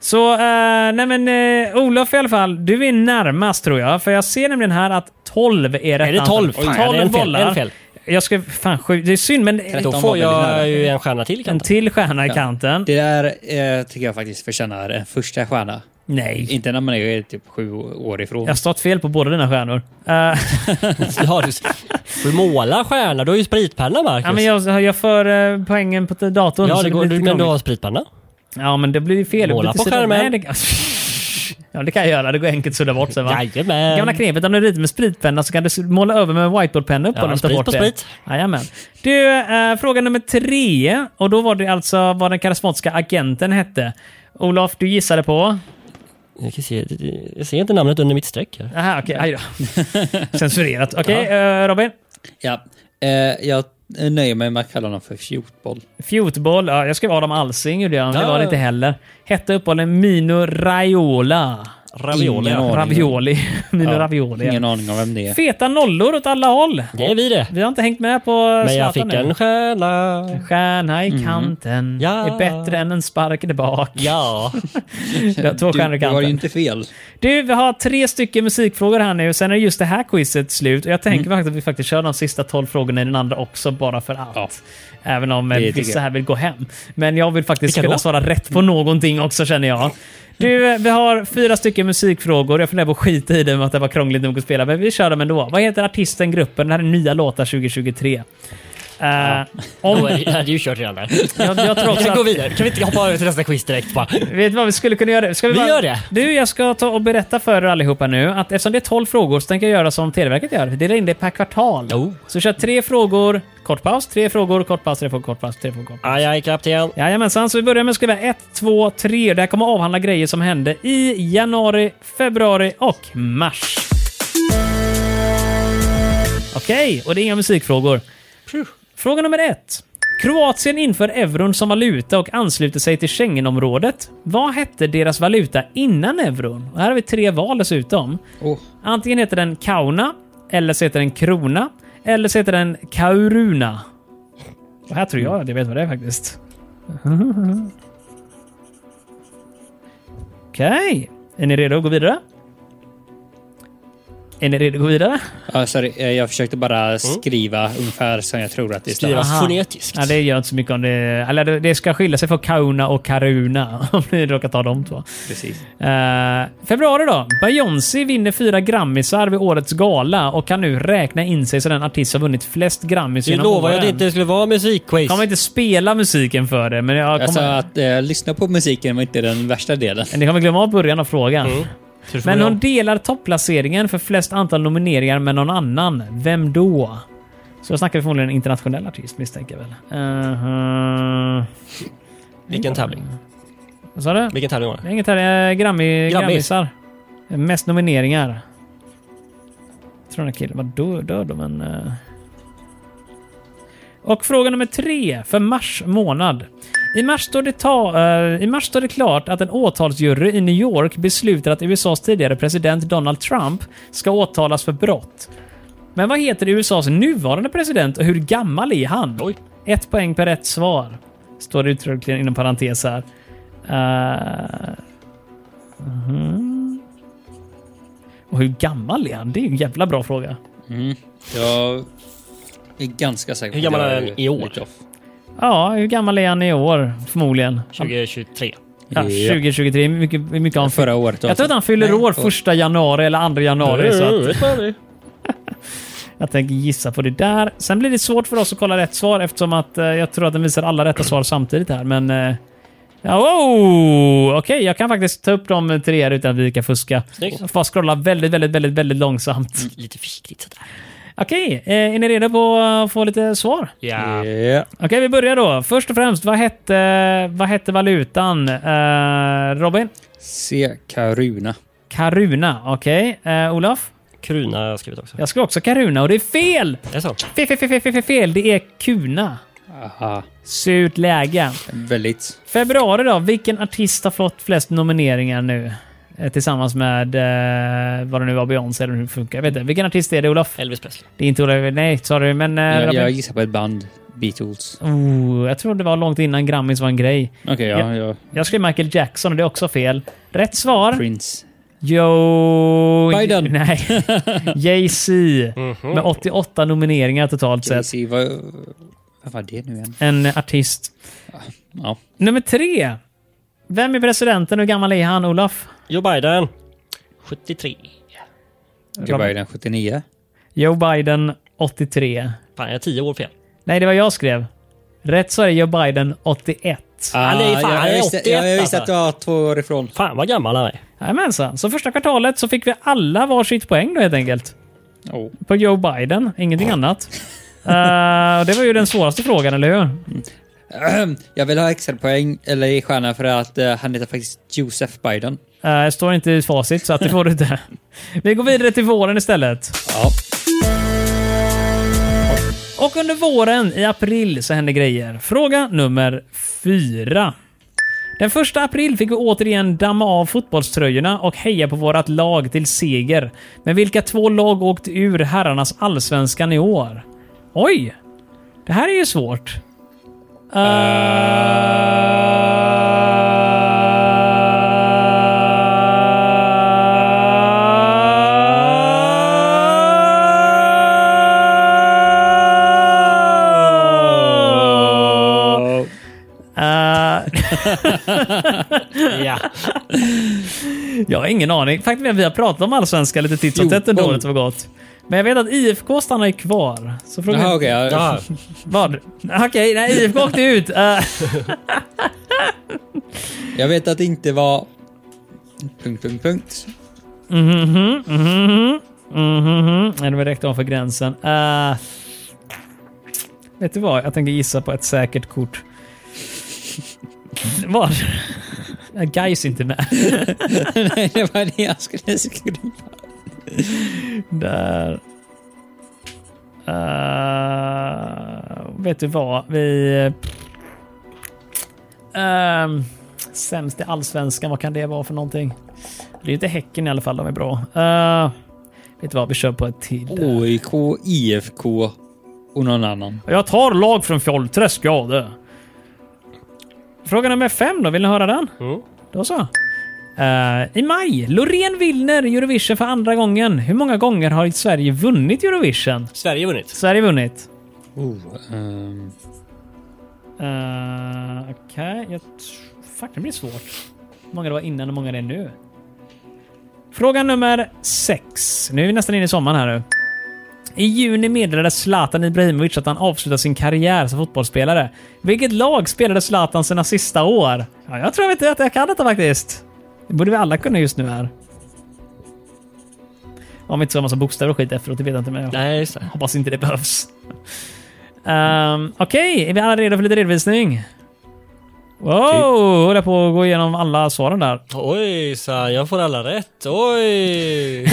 Speaker 1: Så, eh, nej men eh, Olof i alla fall, du är närmast tror jag. För jag ser nämligen här att 12 är rätt
Speaker 2: Är det
Speaker 1: antal.
Speaker 2: 12? Fan, det är
Speaker 1: 12
Speaker 2: en fel,
Speaker 1: bollar.
Speaker 2: en fel.
Speaker 1: Jag skrev fan sju. Det är synd, men
Speaker 2: Då
Speaker 4: De
Speaker 2: får
Speaker 4: var väldigt nära.
Speaker 2: jag ju en stjärna till
Speaker 1: en
Speaker 2: kanske.
Speaker 1: till stjärna i kanten.
Speaker 4: Det där eh, tycker jag faktiskt förtjänar en första stjärna.
Speaker 1: Nej.
Speaker 4: Inte när man är typ sju år ifrån.
Speaker 1: Jag har stått fel på båda dina stjärnor. Eh,
Speaker 2: Ja, du får ju måla stjärna. Du har ju spritpenna, Marcus.
Speaker 1: ja, men jag, jag för eh, poängen på datorn.
Speaker 2: Ja,
Speaker 1: så
Speaker 2: det går,
Speaker 1: blir
Speaker 2: du,
Speaker 1: lite
Speaker 2: men du
Speaker 1: krångligt.
Speaker 2: har spritpenna.
Speaker 1: Ja, men det blir ju fel. Det blir
Speaker 2: Måla
Speaker 1: till
Speaker 2: på
Speaker 1: sidan-
Speaker 2: skärmen.
Speaker 1: Nej, det- Ja, det kan jag göra. Det går enkelt att sudda bort sen va?
Speaker 2: Jajamän.
Speaker 1: Gamla knepet, om du ritar med spritpenna så kan du måla över med whiteboardpenna upp
Speaker 2: Ja,
Speaker 1: och ta
Speaker 2: sprit
Speaker 1: bort
Speaker 2: på
Speaker 1: det.
Speaker 2: sprit.
Speaker 1: Jajamän. Du, eh, fråga nummer tre. Och då var det alltså vad den karismatiska agenten hette. Olof, du gissade på?
Speaker 2: Jag, kan se, jag ser inte namnet under mitt streck här.
Speaker 1: Aha, okej. Aj då. Censurerat. Okej, eh, Robin?
Speaker 4: Ja. Eh, jag nöjer mig med att kalla honom för fjortboll.
Speaker 1: Fjotboll. Ja, jag skrev Adam Alsing, gjorde jag. men Det
Speaker 2: Ja.
Speaker 1: var det inte heller. Hette uppehållen Mino Raiola.
Speaker 2: Ravioli.
Speaker 4: Ingen
Speaker 2: ja.
Speaker 4: aning.
Speaker 1: Ravioli. Mino
Speaker 4: Ja,
Speaker 1: Ravioli.
Speaker 4: Ingen aning om vem det är.
Speaker 1: Feta nollor åt alla håll.
Speaker 2: Det är vi det.
Speaker 1: Vi har inte hängt med på
Speaker 2: Men
Speaker 1: Zlatan
Speaker 2: jag fick
Speaker 1: nu.
Speaker 2: en stjärna.
Speaker 1: Stjärna
Speaker 4: Mm.
Speaker 1: i kanten
Speaker 2: Ja.
Speaker 1: är bättre än en spark där bak.
Speaker 2: Ja.
Speaker 1: Det var Två stjärnor
Speaker 4: Du,
Speaker 1: i
Speaker 4: du har ju
Speaker 1: kanten.
Speaker 4: inte fel.
Speaker 1: Du, vi har tre stycken musikfrågor här nu. Sen är just det här quizet slut. Och jag tänker
Speaker 4: Mm.
Speaker 1: faktiskt att vi faktiskt kör de sista tolv frågorna i den andra också, bara för att.
Speaker 4: Ja.
Speaker 1: Även om eh,
Speaker 4: Det tycker
Speaker 1: vissa
Speaker 4: jag.
Speaker 1: här vill gå hem. Men jag vill faktiskt
Speaker 2: Vilka
Speaker 1: kunna
Speaker 2: då?
Speaker 1: svara rätt på någonting också, känner jag. Du, eh, vi har fyra stycken musikfrågor. Jag funderar på att skita i det med att det var krångligt nog att spela, men vi kör dem ändå. Vad heter artisten, gruppen? Det här är nya låtar 2023. Eh,
Speaker 2: Då
Speaker 1: om,
Speaker 2: är- Jag hade ju kört redan där.
Speaker 1: jag, jag tror
Speaker 2: Vi
Speaker 1: också
Speaker 2: kan
Speaker 1: att-
Speaker 2: gå vidare. Kan vi inte hoppa över till nästa quiz direkt bara?
Speaker 1: Vet du vad vi skulle kunna göra? Ska
Speaker 2: Vi
Speaker 1: bara...
Speaker 2: gör det.
Speaker 1: Du, jag ska ta och berätta för er allihopa nu att eftersom det är 12 frågor så tänker jag göra som Televerket gör. Vi delar in det per kvartal.
Speaker 2: Oh.
Speaker 1: Så kör tre frågor, kort paus, tre frågor, kort paus, tre frågor, kort paus, tre frågor, kort paus.
Speaker 2: Aj, aj, kapten.
Speaker 1: Jajamensan, så vi börjar med att skriva 1, 2, 3. Det här kommer avhandla grejer som hände i januari, februari och mars. Okej, och det är inga musikfrågor. Fråga nummer ett. Kroatien inför euron som valuta och ansluter sig till Schengenområdet. Vad hette deras valuta innan euron? Och här har vi tre val dessutom.
Speaker 4: Åh,
Speaker 1: Antingen heter den Kauna, eller så heter den Krona, eller så heter den Kauruna. Och här tror jag att jag vet vad det är faktiskt. Okej, är ni redo att gå vidare? Är ni redo att gå vidare?
Speaker 4: Ja, sorry, eh, jag försökte bara skriva ungefär som jag tror att det står.
Speaker 2: Skriva
Speaker 1: Aha.
Speaker 2: fonetiskt.
Speaker 1: Ja, det gör inte så mycket om det... Eller det det ska skilja sig från Kauna och Karuna, om ni råkar ta de två.
Speaker 4: Precis.
Speaker 1: Eh, februari då. Beyoncé vinner fyra Grammisar vid årets gala och kan nu räkna in sig som den artist som vunnit flest Grammis
Speaker 2: Nu
Speaker 1: genom
Speaker 2: lovar jag att det
Speaker 1: åren.
Speaker 2: inte skulle vara
Speaker 1: Jag kommer
Speaker 2: musikquiz.
Speaker 1: inte spela musiken för det, men jag
Speaker 4: Jag sa
Speaker 2: Alltså-
Speaker 1: kommer...
Speaker 4: att eh, lyssna på musiken var inte den värsta delen.
Speaker 1: Ni kommer glömma av början av frågan.
Speaker 2: Mm. Så du får
Speaker 1: Men
Speaker 2: väl-
Speaker 1: hon delar topplaceringen för flest antal nomineringar med någon annan. Vem då? Så jag snackar förmodligen en internationell artist misstänker jag väl. Eh, Uh-huh.
Speaker 2: Vilken tävling?
Speaker 1: Vad sa du?
Speaker 2: Vilken tävling var
Speaker 1: Det
Speaker 2: det?
Speaker 1: är inget här. eh, Grammy,
Speaker 2: Grammis.
Speaker 1: Grammisar. Mest nomineringar. Jag tror den här killen var dö- död då, men... eh. Och fråga nummer tre för mars månad. I mars, står det ta, eh, I mars står det klart att en åtalsjury i New York beslutar att USAs tidigare president Donald Trump ska åtalas för brott. Men vad heter USAs nuvarande president och hur gammal är han? Ett poäng per rätt svar. Står det uttryckligen inom parentes här. Eh, mhm. Och hur gammal är han? Det är ju en jävla bra fråga.
Speaker 4: Jag är ganska säker på
Speaker 2: Hur gammal
Speaker 4: att
Speaker 2: är
Speaker 4: jag
Speaker 2: den i år?
Speaker 4: lite off.
Speaker 1: Ja, hur gammal är han i år? Förmodligen.
Speaker 2: 2023.
Speaker 1: Ja, 2023. Hur mycket, hur mycket har han fyllt?
Speaker 4: Förra året.
Speaker 1: Jag tror att han fyller
Speaker 4: Nej,
Speaker 1: år
Speaker 4: förra-
Speaker 1: första januari eller andra januari. Så att jag tänker gissa på det där. Sen blir det svårt för oss att kolla rätt svar eftersom att eh, jag tror att den visar alla rätta svar samtidigt här. Men... eh, Ja, wow! Okej, jag kan faktiskt ta upp de tre här utan att vi kan fuska.
Speaker 2: Snyggt. Mm.
Speaker 1: Jag får bara scrolla väldigt, väldigt, väldigt, väldigt långsamt.
Speaker 2: Lite försiktigt sådär.
Speaker 1: Okej, eh, är ni redo på att få lite svar?
Speaker 2: Ja.
Speaker 4: Ja.
Speaker 1: Okej, vi börjar då. Först och främst, vad hette, vad hette valutan? Eh, Robin?
Speaker 4: Se Karuna.
Speaker 1: Karuna. Okej. Eh, Olof?
Speaker 2: Kruna har jag skrivit också.
Speaker 1: Jag ska också Karuna och det är fel!
Speaker 2: Är det sant?
Speaker 1: Fel, fel, fel, fel, fel, fel, fel. Det är Kuna.
Speaker 4: Aha.
Speaker 1: Surt läge.
Speaker 4: Väldigt.
Speaker 1: Februari då. Vilken artist har fått flest nomineringar nu? Eh, Tillsammans med eh, vad det nu var, Beyoncé eller hur det funkar. Jag vet inte. Vilken artist är det, Olof?
Speaker 2: Elvis Presley.
Speaker 1: Det är inte Olof. Nej, sorry. Men... Eh,
Speaker 4: Jag,
Speaker 1: Robin?
Speaker 4: jag gissar på ett band. Beatles.
Speaker 1: Oh, jag tror det var långt innan Grammis var en grej.
Speaker 4: Okej, ja, ja.
Speaker 1: Jag skrev Michael Jackson och det är också fel. Rätt svar?
Speaker 4: Prince.
Speaker 1: Jo...
Speaker 4: Biden.
Speaker 1: Nej. Jay-Z. Med 88 nomineringar totalt sett.
Speaker 4: Jay-Z. Vad, vad var det nu igen?
Speaker 1: En artist.
Speaker 4: Ja.
Speaker 1: Nummer tre. Vem är presidenten? Hur gammal är han, Olof?
Speaker 2: Joe Biden. 73.
Speaker 4: Joe Biden 79.
Speaker 1: Joe Biden, 83.
Speaker 2: Fan, jag är 10 år fel.
Speaker 1: Nej, det var jag skrev. Rätt svar är Joe Biden, 81.
Speaker 2: Han är ju fan-
Speaker 4: Ah, jag,
Speaker 2: han är
Speaker 4: visste,
Speaker 2: 81,
Speaker 4: jag, jag visste att
Speaker 2: alltså.
Speaker 4: jag var två år ifrån.
Speaker 2: Fan vad gammal han är.
Speaker 1: Jajamensan. Så första kvartalet så fick vi alla varsitt poäng då helt enkelt.
Speaker 4: Oh.
Speaker 1: På Joe Biden, ingenting annat. Eh, och det var ju den svåraste frågan, eller hur?
Speaker 4: Jag vill ha extra poäng eller i stjärna för att eh, han heter faktiskt Joseph Biden.
Speaker 1: Eh, står inte i facit, så att det får du inte. Vi går vidare till våren istället.
Speaker 4: Ja.
Speaker 1: Och under våren, i april, så händer grejer. Fråga nummer fyra. Den första april fick vi återigen damma av fotbollströjorna och heja på vårt lag till seger. Men vilka två lag åkte ur herrarnas allsvenskan i år? Oj! Det här är ju svårt. Eh, Eh,
Speaker 2: Ja.
Speaker 1: jag har ingen aning. Faktum är att vi har pratat om allsvenskan lite titt som tätt under
Speaker 4: Fjorton.
Speaker 1: året som har gått. Men jag vet att IFK stannar ju kvar. Så frågan
Speaker 4: Jaha, okej. ja.
Speaker 2: ja.
Speaker 1: Vad? Okej, nej, IFK åkte ut. Eh,
Speaker 4: Jag vet att det inte var... Punkt, punkt, punkt.
Speaker 1: Mhm, mhm, mhm. Nej, det var direkt ovanför gränsen. Eh, vet du vad? Jag tänker gissa på ett säkert kort. Vad? Ja, Gais är inte med.
Speaker 4: Nej, det var det jag skulle skriva.
Speaker 1: Där. Eh, vet du vad? Vi... Uh, sämst i allsvenskan, vad kan det vara för någonting? Det är inte Häcken i alla fall, de är bra. Eh, vet du vad? Vi kör på ett till. där.
Speaker 4: OIK, IFK och någon annan.
Speaker 1: Jag tar lag från Fjollträsk, ja det. Fråga nummer fem då, vill ni höra den?
Speaker 2: Mm.
Speaker 1: Då så. Eh, I maj, Loreen vinner Eurovision för andra gången. Hur många gånger har Sverige vunnit Eurovision?
Speaker 2: Sverige vunnit.
Speaker 1: Sverige vunnit.
Speaker 4: Ehm,
Speaker 1: Uh, Okej, jag... tr- Fuck, det blir svårt. Hur många det var innan och hur många det är nu. Fråga nummer sex. Nu är vi nästan inne i sommaren här nu. I juni meddelade Zlatan Ibrahimovic att han avslutar sin karriär som fotbollsspelare. Vilket lag spelade Zlatan sina sista år? Ja, jag tror inte att jag kan detta faktiskt. Det borde vi alla kunna just nu här. Om vi inte så har massa bokstäver och skit efteråt, det vet jag inte. Men jag
Speaker 2: Nej, just det.
Speaker 1: Hoppas inte det behövs. Ehm, Okej, är vi alla redo för lite redovisning? Wow, håller på att gå igenom alla svaren där.
Speaker 2: Oj, så jag får alla rätt. Oj!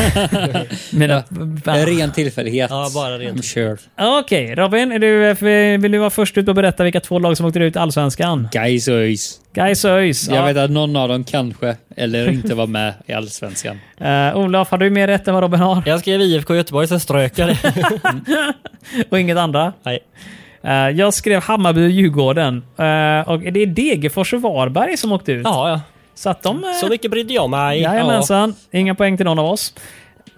Speaker 1: Mina...
Speaker 4: en ren tillfällighet.
Speaker 2: Ja, bara ren
Speaker 4: I'm sure.
Speaker 1: Okej, Robin, är du, vill du vara först ut och berätta vilka två lag som åkte ut i Allsvenskan?
Speaker 4: Guys öjs.
Speaker 1: Gais och ÖIS.
Speaker 4: Jag
Speaker 1: Ja.
Speaker 4: vet att någon av dem kanske, eller inte var med i Allsvenskan.
Speaker 1: Eh, Olof, har du mer rätt än vad Robin har?
Speaker 2: Jag skrev IFK Göteborg, sen strök jag det.
Speaker 1: Och inget andra?
Speaker 2: Nej.
Speaker 1: Eh, jag skrev Hammarby och Djurgården. Eh, och det är Degerfors och Varberg som åkte ut.
Speaker 2: Ja, ja.
Speaker 1: Så att de... eh,
Speaker 2: Så mycket brydde jag mig.
Speaker 1: Jajamensan. Inga poäng till någon av oss.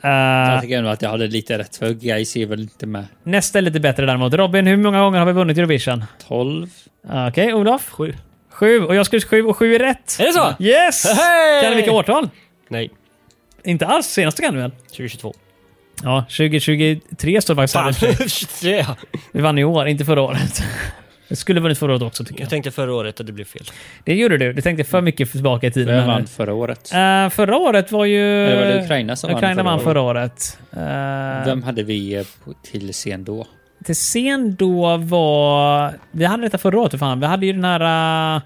Speaker 1: Eh,
Speaker 4: Jag tycker ändå att jag hade lite rätt för Guys är väl inte med.
Speaker 1: Nästa är lite bättre däremot. Robin, hur många gånger har vi vunnit Eurovision?
Speaker 4: 12?
Speaker 1: Okej, Olof?
Speaker 2: Sju.
Speaker 1: Sju. Och jag skrev sju och sju är rätt.
Speaker 2: Är det så?
Speaker 1: Yes!
Speaker 2: Hey!
Speaker 1: Kan du vilka årtal?
Speaker 2: Nej,
Speaker 1: Inte alls. Senaste kan du väl?
Speaker 2: 2022.
Speaker 1: Ja, 2023 står faktiskt här. i och för sig.
Speaker 2: 23. ja.
Speaker 1: Vi vann i år, inte förra året. Jag skulle vunnit förra året också tycker
Speaker 2: Jag
Speaker 1: jag.
Speaker 2: tänkte förra året att det blev fel.
Speaker 1: Det gjorde du. Du tänkte för mycket tillbaka i tiden.
Speaker 4: Vem
Speaker 1: här
Speaker 4: vann
Speaker 1: nu.
Speaker 4: förra året?
Speaker 1: Eh, förra året var ju...
Speaker 4: Eller var det Ukraina som vann
Speaker 1: Eh, Ukraina
Speaker 4: förra
Speaker 1: vann
Speaker 4: året?
Speaker 1: förra året. Mm. Eh,
Speaker 4: Vem hade vi eh, på- till scen då?
Speaker 1: till sen då var... Vi hade detta förra året, för fan. Vi hade ju den här... eh,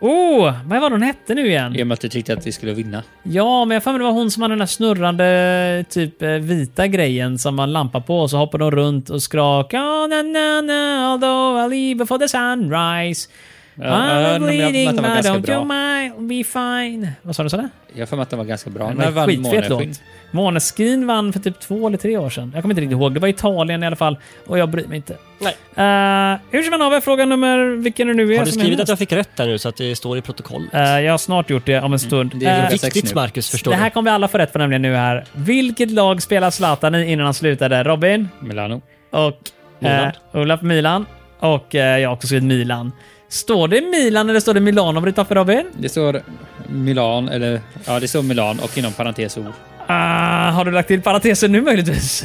Speaker 1: Oh, vad var hon hette nu igen?
Speaker 4: I och med att du tyckte att vi skulle vinna.
Speaker 1: Ja, men jag för mig det var hon som hade den där snurrande typ eh, vita grejen som man lampar på och så hoppar de runt och skrakar oh, na, na, na, although I leave before the sunrise.
Speaker 4: Ja,
Speaker 1: I'm
Speaker 4: ja, men jag-
Speaker 1: bleeding,
Speaker 4: vänta,
Speaker 1: but
Speaker 4: var ganska
Speaker 1: don't
Speaker 4: bra.
Speaker 1: you mind, be fine. Vad sa du? Sådär?
Speaker 4: Jag har för mig att den var ganska bra.
Speaker 1: Det
Speaker 4: När
Speaker 1: var en
Speaker 4: vann
Speaker 1: skitfet
Speaker 4: Måneskin?
Speaker 1: låt. Måneskin vann för typ två eller tre år sedan. Jag kommer inte riktigt ihåg. Det var Italien i alla fall och jag bryr mig inte.
Speaker 2: Nej.
Speaker 1: Eh, hur som helst, fråga nummer... Vilken är det nu? är
Speaker 2: Har du
Speaker 1: som är
Speaker 2: skrivit
Speaker 1: nu?
Speaker 2: att jag fick rätt där nu så att det står i protokollet?
Speaker 1: Eh, jag har snart gjort det
Speaker 2: Mm,
Speaker 1: om en stund.
Speaker 4: det är
Speaker 1: Eh,
Speaker 4: fråga sex
Speaker 2: Viktigt
Speaker 4: nu.
Speaker 2: Marcus, förstår
Speaker 1: det här
Speaker 2: du?
Speaker 1: kommer vi alla få rätt för nämligen nu här. Vilket lag spelar Zlatan i innan han slutade? Robin
Speaker 4: Milano.
Speaker 1: och
Speaker 2: Milan.
Speaker 1: Eh, Ola på Milan. Och eh, jag har också skrivit Milan. Står det Milan eller står det Milano på ditt papper Robin?
Speaker 4: Det står Milan, eller ja, det står Milan och inom parentes O.
Speaker 1: Ah, har du lagt till parentesen nu möjligtvis?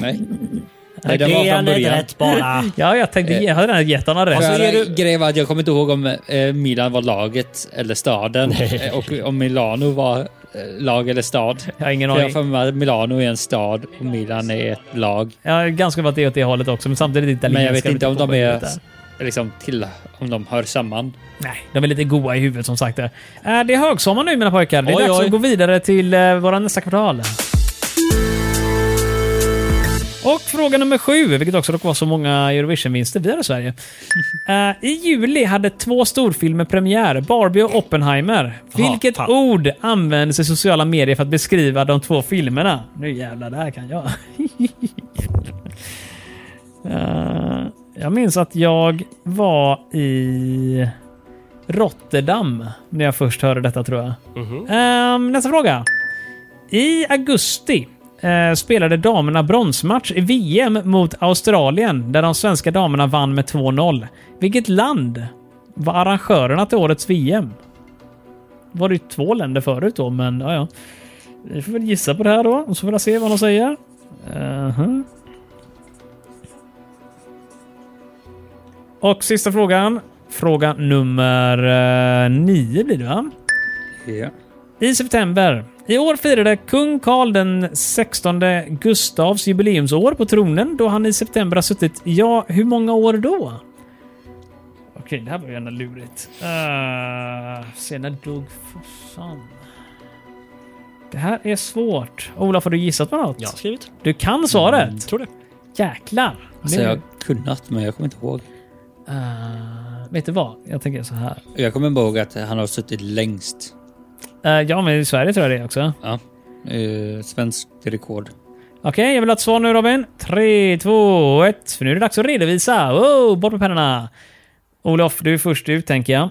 Speaker 4: Nej. Nej, den var från början.
Speaker 2: rätt bara.
Speaker 1: ja, jag tänkte ge, jag hade redan gett honom
Speaker 4: För
Speaker 1: rätt.
Speaker 2: är du-
Speaker 4: Grejen var att jag kommer inte ihåg om eh, Milan var laget eller staden Eh, och om Milano var eh, lag eller stad.
Speaker 1: Jag har ingen
Speaker 4: För jag har
Speaker 1: aning.
Speaker 4: för mig att Milano är en stad och Milan är ett lag.
Speaker 1: Jag är ganska på att det är åt det hållet också, men samtidigt italienska.
Speaker 4: Men jag vet inte om de
Speaker 1: påverkar
Speaker 4: är
Speaker 1: lite.
Speaker 4: liksom till, om de hör samman.
Speaker 1: Nej, de är lite goa i huvudet som sagt. där. Eh, Det är högsommar nu mina pojkar. Det är
Speaker 2: Oj,
Speaker 1: dags
Speaker 2: oj.
Speaker 1: att gå vidare till eh, våra nästa kvartal. Och fråga nummer sju, vilket också råkar vara så många Eurovision-vinster vi har i Sverige. Eh, I juli hade två storfilmer premiär, Barbie och Oppenheimer.
Speaker 2: Jaha,
Speaker 1: Vilket
Speaker 2: fan.
Speaker 1: ord användes i sociala medier för att beskriva de två filmerna? Nu jävlar, det här kan jag. Eh, jag minns att jag var i Rotterdam när jag först hörde detta tror jag. Ehm, nästa fråga. I augusti eh, spelade damerna bronsmatch i VM mot Australien där de svenska damerna vann med 2-0. Vilket land var arrangörerna till årets VM? Var det ju två länder förut då, men ja, ja. Vi får väl gissa på det här då och så får vi se vad de säger. Mhm. Och sista frågan. Fråga nummer eh, nio blir det va?
Speaker 4: Ja.
Speaker 1: I september. I år firade kung Karl den 16 Gustavs jubileumsår på tronen då han i september har suttit, ja, hur många år då? Okej, det här var ju ändå lurigt. Uh, senare dog Fossan. Det här är svårt. Ola, har du gissat på något?
Speaker 2: Jag har skrivit.
Speaker 1: Du kan svaret.
Speaker 2: Tror det.
Speaker 1: Jäklar.
Speaker 4: Alltså
Speaker 1: Nu-
Speaker 4: jag har kunnat, men jag kommer inte ihåg.
Speaker 1: Eh, vet du vad? Jag tänker så här.
Speaker 4: Jag kommer bara ihåg att han har suttit längst.
Speaker 1: Eh, ja, men i Sverige tror jag det är också.
Speaker 4: Ja. Eh, svenskt rekord.
Speaker 1: Okej, jag vill ha ett svar nu Robin. Tre, två, ett. För nu är det dags att redovisa. Wow, bort med pennorna. Olof, du är först ut tänker jag.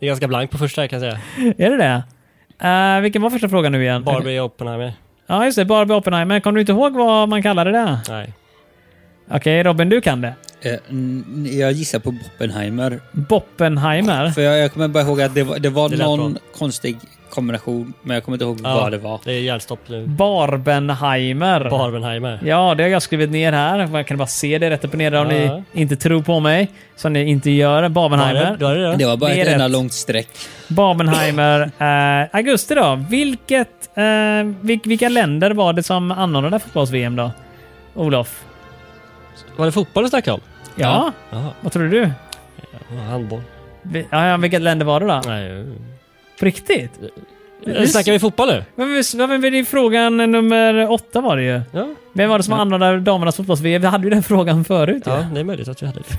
Speaker 2: Det är ganska blank på första kan jag säga.
Speaker 1: Är det det? Eh, vilken var första frågan nu igen?
Speaker 2: Barbie och Oppenheimer.
Speaker 1: Ja, just det. Barbie Oppenheimer. Kommer du inte ihåg vad man kallade det?
Speaker 2: Nej.
Speaker 1: Okej, Robin, du kan det.
Speaker 4: Eh, n- jag gissar på Boppenheimer.
Speaker 1: Boppenheimer.
Speaker 4: För jag, jag kommer bara ihåg att det var, det var
Speaker 2: Det lät
Speaker 4: någon konstig kombination, men jag kommer inte ihåg
Speaker 2: Ja,
Speaker 4: vad det var.
Speaker 2: Det är hjärnstopp nu.
Speaker 1: Barbenheimer.
Speaker 2: Barbenheimer.
Speaker 1: Ja, det har jag skrivit ner här. Jag kan bara se det rätt upp och ner om
Speaker 2: Ja.
Speaker 1: ni inte tror på mig. Som ni inte gör.
Speaker 2: Var
Speaker 1: Barbenheimer.
Speaker 2: det- var det
Speaker 4: Det
Speaker 2: det?
Speaker 4: var bara
Speaker 1: Det är
Speaker 4: ett enda
Speaker 1: rätt.
Speaker 4: långt streck.
Speaker 1: Barbenheimer. Eh, augusti då. Vilket, eh, vil, vilka länder var det som anordnade fotbolls-VM då? Olof?
Speaker 2: Var det fotboll du snackade om?
Speaker 1: Ja,
Speaker 4: Ja.
Speaker 2: Jaha,
Speaker 1: vad tror du?
Speaker 2: handboll.
Speaker 1: Vi- Ja, ja, vilket länder var det då?
Speaker 2: Nej.
Speaker 1: På riktigt?
Speaker 2: Nu snackar vi fotboll nu.
Speaker 1: Men, visst- men, men, det är ju frågan nummer åtta var det ju.
Speaker 2: Ja,
Speaker 1: Vem var det som anordnade damernas fotbolls-VM? Vi hade ju den frågan förut ju.
Speaker 2: ja, det är möjligt att vi hade det.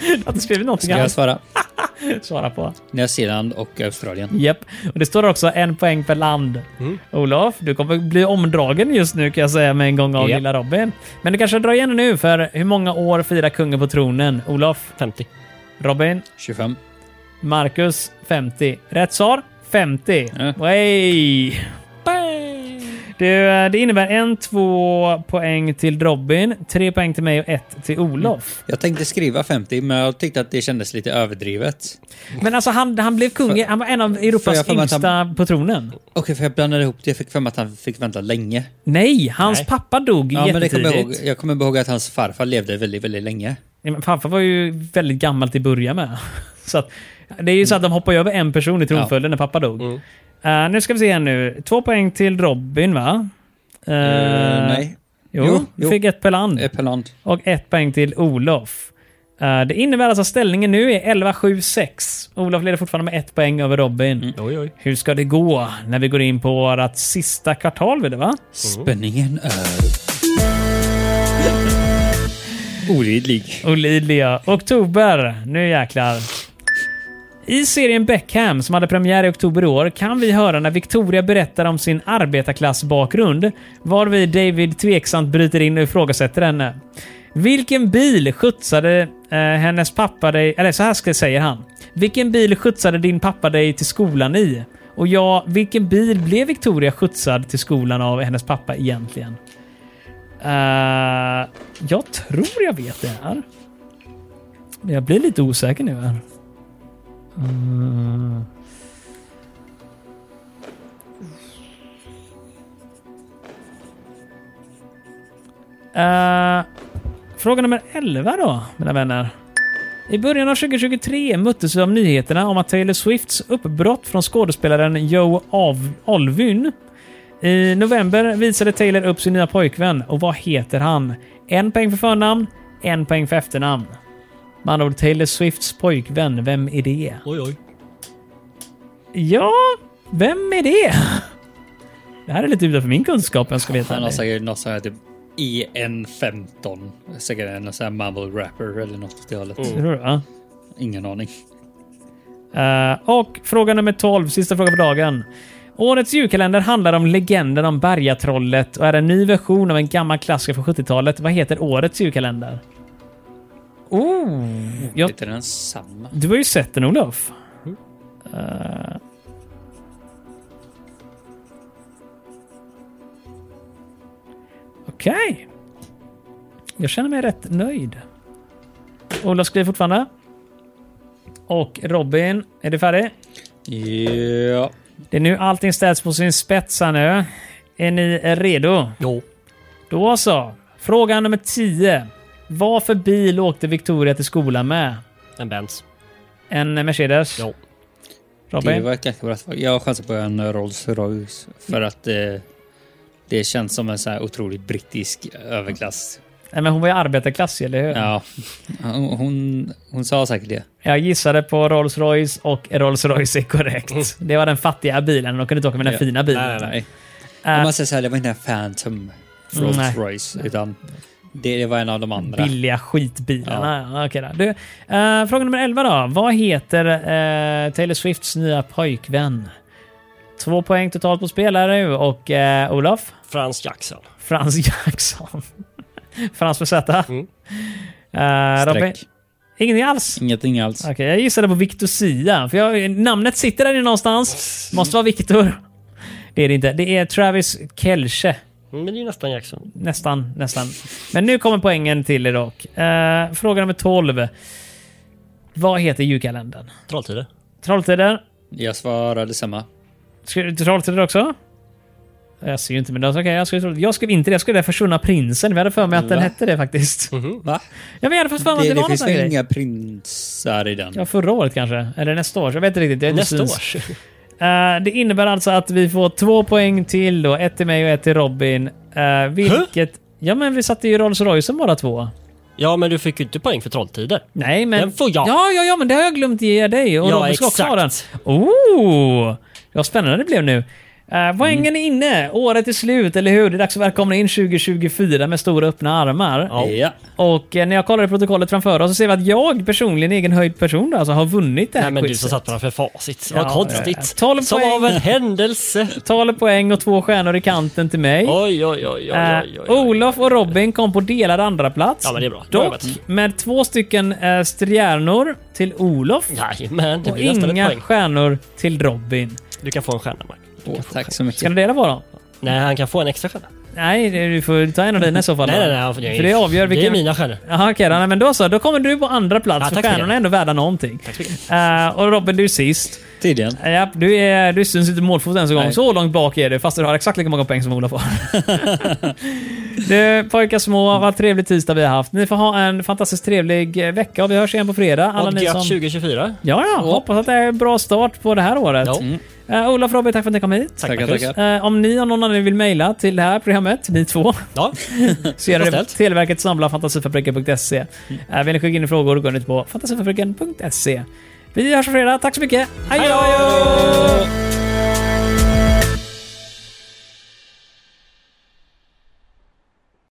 Speaker 1: Jag har inte skrivit någonting
Speaker 4: Ska jag
Speaker 1: alls
Speaker 4: svara?
Speaker 1: att svara på.
Speaker 4: Nya Zeeland och Australien.
Speaker 1: Japp. Och det står också en poäng per land.
Speaker 4: Mm.
Speaker 1: Olof, du kommer bli omdragen just nu kan jag säga med en gång av
Speaker 4: Japp.
Speaker 1: lilla Robin. Men du kanske drar igen nu för hur många år firar kungen på tronen? Olof,
Speaker 2: 50.
Speaker 1: Robin,
Speaker 4: 25.
Speaker 1: Marcus, 50. Rätt svar? 50.
Speaker 4: Ja.
Speaker 1: Way. Du, eh, det innebär en, två poäng till Robin, tre poäng till mig och ett till Olof.
Speaker 4: Jag tänkte skriva 50, men jag tyckte att det kändes lite överdrivet.
Speaker 1: Men alltså han, han blev kung, han var en av
Speaker 4: Mm. Får jag
Speaker 1: Europas
Speaker 4: för mig att han-
Speaker 1: yngsta på tronen.
Speaker 4: Okej, för jag blandade ihop det. Jag fick för mig att han fick vänta länge.
Speaker 1: Nej, hans
Speaker 2: Nej.
Speaker 1: pappa dog
Speaker 4: Ja, men det
Speaker 1: jättetidigt.
Speaker 4: kommer jag, ihåg, jag kommer ihåg att hans farfar levde väldigt, väldigt länge.
Speaker 1: Nej, men Farfar var ju väldigt gammal till att börja med. Så att, det är ju så att de hoppar ju över en person i tronföljden när pappa dog.
Speaker 4: Mm.
Speaker 1: Eh, nu ska vi se här nu. Två poäng till Robin va? Eh,
Speaker 4: Eh, nej.
Speaker 1: Jo,
Speaker 4: Jo,
Speaker 1: du
Speaker 4: jo.
Speaker 1: fick ett per land.
Speaker 4: Eh, Per land.
Speaker 1: Och ett poäng till Olof. Eh, det innebär alltså att ställningen nu är 11-7-6. Olof leder fortfarande med ett poäng över Robin.
Speaker 4: Mm.
Speaker 2: Oj, oj.
Speaker 1: Hur ska det gå när vi går in på vårt sista kvartal? Vill det, va?
Speaker 4: Spänningen är... Olidlig.
Speaker 1: Olidliga. Oktober. Nu jäklar. I serien Beckham, som hade premiär i oktober i år, kan vi höra när Victoria berättar om sin arbetarklassbakgrund, varvid David tveksamt bryter in och ifrågasätter henne. Vilken bil skjutsade eh, hennes pappa dig... Eller så här ska jag säga han. Vilken bil skjutsade din pappa dig till skolan i? Och ja, vilken bil blev Victoria skjutsad till skolan av hennes pappa egentligen? Eh, jag tror jag vet det här. Men jag blir lite osäker nu här. Mm. Eh, fråga nummer 11 då, mina vänner. I början av 2023 möttes vi av nyheterna om att Taylor Swifts uppbrott från skådespelaren Joe Av- Alwyn i november visade Taylor upp sin nya pojkvän och vad heter han? En poäng för förnamn, en poäng för efternamn. Med andra ord, Taylor Swifts pojkvän, vem är det?
Speaker 2: Oj, oj.
Speaker 1: Ja, vem är det? Det här är lite utanför min kunskap, jag ska veta.
Speaker 4: Han har
Speaker 1: det.
Speaker 4: säkert något sånt här typ IN15. Säkert en sån här mumble rapper eller något åt det hållet.
Speaker 1: Tror du, va?
Speaker 4: Ingen aning.
Speaker 1: Eh, och fråga nummer 12, sista fråga för dagen. Årets julkalender handlar om legenden om Bergatrollet och är en ny version av en gammal klassiker från 70-talet. Vad heter årets julkalender? Oh, jag
Speaker 4: Heter den samma?
Speaker 1: Du har ju sett den Olof.
Speaker 2: Mm.
Speaker 1: Eh. Okej. Jag känner mig rätt nöjd. Olof skriver fortfarande. Och Robin, är du färdig?
Speaker 4: Ja.
Speaker 1: Det är nu allting ställs på sin spets här nu. Är ni redo?
Speaker 2: Jo.
Speaker 1: Då så. Fråga nummer 10. Vad för bil åkte Victoria till skolan med?
Speaker 2: En Benz.
Speaker 1: En Mercedes?
Speaker 2: Jo.
Speaker 1: Robin?
Speaker 4: Det var ett ganska bra svar. Jag chansar på en Rolls Royce. För
Speaker 1: Mm.
Speaker 4: att eh, det känns som en sån här otroligt brittisk överklass.
Speaker 1: Nej, men hon var ju arbetarklass, eller hur?
Speaker 4: Ja. Hon, hon, hon sa säkert det.
Speaker 1: Jag gissade på Rolls Royce och Rolls Royce är korrekt. Det var den fattiga bilen, de kunde inte åka med den
Speaker 4: Mm. Ja.
Speaker 1: fina bilen.
Speaker 2: Nej, nej,
Speaker 4: Nej.
Speaker 1: Äh.
Speaker 4: Om man säger så här, det var inte en Phantom Rolls
Speaker 1: Nej.
Speaker 4: Royce. Utan det, det var en av de andra.
Speaker 1: Billiga skitbilarna. Ja. okej då. Du, eh, fråga nummer 11 då. Vad heter eh, Taylor Swifts nya pojkvän? Två poäng totalt på spelare nu och eh, Olof?
Speaker 2: Frans Jackson.
Speaker 1: Frans Jackson. Frans med Z.
Speaker 2: Mm.
Speaker 1: Eh, Robin?
Speaker 4: Streck.
Speaker 1: Ingenting alls?
Speaker 4: Ingenting alls.
Speaker 1: Okej, jag gissade på Victosia. För jag, namnet sitter där inne någonstans. Måste vara Victor. Det är det inte. Det är Travis Kelce.
Speaker 2: Men det är ju nästan Jackson.
Speaker 1: Nästan, nästan. Men nu kommer poängen till er dock. Eh, fråga nummer 12. Vad heter julkalendern?
Speaker 2: Trolltider.
Speaker 1: Trolltider?
Speaker 4: Jag svarade samma.
Speaker 1: Ska du till Trolltider också? Jag ser ju inte, men det- okej, jag skulle troll- Jag skrev inte det. Jag skrev det Försvunna Prinsen. Vi hade för mig att den
Speaker 4: Va?
Speaker 1: hette det faktiskt.
Speaker 4: Va?
Speaker 1: Ja, men jag hade fått för mig att
Speaker 4: Det,
Speaker 1: det,
Speaker 4: det
Speaker 1: var någon
Speaker 4: finns
Speaker 1: sån här
Speaker 4: väl
Speaker 1: grej.
Speaker 4: inga prinsar i den?
Speaker 1: Ja, förra året kanske. Eller nästa år. Jag vet inte riktigt. Jag är inte
Speaker 2: Nästa
Speaker 1: syns.
Speaker 2: års.
Speaker 1: Eh, det innebär alltså att vi får två poäng till då. Ett till mig och ett till Robin. Eh, vilket... Ja, men vi satte ju Rolls Roycen bara två.
Speaker 2: Ja, men du fick ju inte poäng för Trolltider.
Speaker 1: Nej, men...
Speaker 2: Den får jag.
Speaker 1: Ja, ja, ja, men det har jag glömt ge dig. Och
Speaker 2: Ja,
Speaker 1: Robin ska också ha den.
Speaker 2: exakt.
Speaker 1: Oh! Vad spännande det blev nu. Eh,
Speaker 2: Mm.
Speaker 1: poängen är inne. Året är slut, eller hur? Det är dags att välkomna in 2024 med stora öppna armar.
Speaker 2: Ja.
Speaker 4: Ja.
Speaker 1: Och eh, när jag kollar i protokollet framför oss så ser vi att jag personligen, i egen höjd person, då, alltså, har vunnit det här
Speaker 2: Nej, men du
Speaker 1: quizet.
Speaker 2: som satt framför facit. Vad
Speaker 1: Ja, ja, ja.
Speaker 2: konstigt.
Speaker 1: Tolv
Speaker 2: Som
Speaker 1: poäng.
Speaker 2: av en händelse.
Speaker 1: 12 poäng och två stjärnor i kanten till mig.
Speaker 2: Oj, oj, oj, oj,
Speaker 1: Eh,
Speaker 2: oj, oj.
Speaker 1: Olof och Robin kom på delad andra plats.
Speaker 2: Ja, men det är bra.
Speaker 1: Dock
Speaker 2: Bra jobbat.
Speaker 1: med två stycken eh, stjärnor till Olof
Speaker 2: Jajamän, det
Speaker 1: och
Speaker 2: blir nästan ett
Speaker 1: inga
Speaker 2: poäng.
Speaker 1: stjärnor till Robin.
Speaker 2: Du kan få en stjärna, Mark.
Speaker 4: Åh, tack så
Speaker 1: Ska
Speaker 4: mycket.
Speaker 1: ni dela på dem?
Speaker 2: Nej, han kan få en extra stjärna.
Speaker 1: Nej, det- du får ta en av dina i så fall.
Speaker 2: Nej,
Speaker 1: då.
Speaker 2: nej, nej. Han får,
Speaker 1: För det avgör
Speaker 2: Det är
Speaker 1: vilken...
Speaker 2: mina stjärnor.
Speaker 1: Jaha, okej. då. Nej, men då så. Då kommer du på andra plats,
Speaker 2: Ja,
Speaker 1: för
Speaker 2: tack så
Speaker 1: stjärnorna är
Speaker 2: mycket.
Speaker 1: ändå värda någonting.
Speaker 2: Tack så mycket.
Speaker 1: Eh, och Robin, du är sist.
Speaker 4: Tydligen.
Speaker 1: Eh, Japp, du, är, du syns inte i målfoten ens en gång.
Speaker 4: Nej.
Speaker 1: Så långt bak är du, fast du har exakt lika många poäng som Ola får. du, pojkar små, vad trevlig tisdag vi har haft. Ni får ha en fantastiskt trevlig eh, vecka och vi hörs igen på fredag. Alla
Speaker 2: och
Speaker 1: ni
Speaker 2: gött
Speaker 1: som...
Speaker 2: 2024.
Speaker 1: Ja, ja. Hoppas att det är en bra start på det här året.
Speaker 2: Ja.
Speaker 1: Eh, Ola och Robin, tack för att ni kom hit.
Speaker 2: Tack,
Speaker 4: Tackar,
Speaker 2: Marcus.
Speaker 4: tackar.
Speaker 1: Eh, om ni och någon annan vill mejla till det här programmet, ni två,
Speaker 2: Ja.
Speaker 1: så gör det på
Speaker 2: Ställt. Mm.
Speaker 1: Televerket snabla fantasifabriken.se. Eh, vill ni skicka in frågor, går ni på fantasifabriken.se. Vi hörs på fredag. Tack så mycket. Hej då!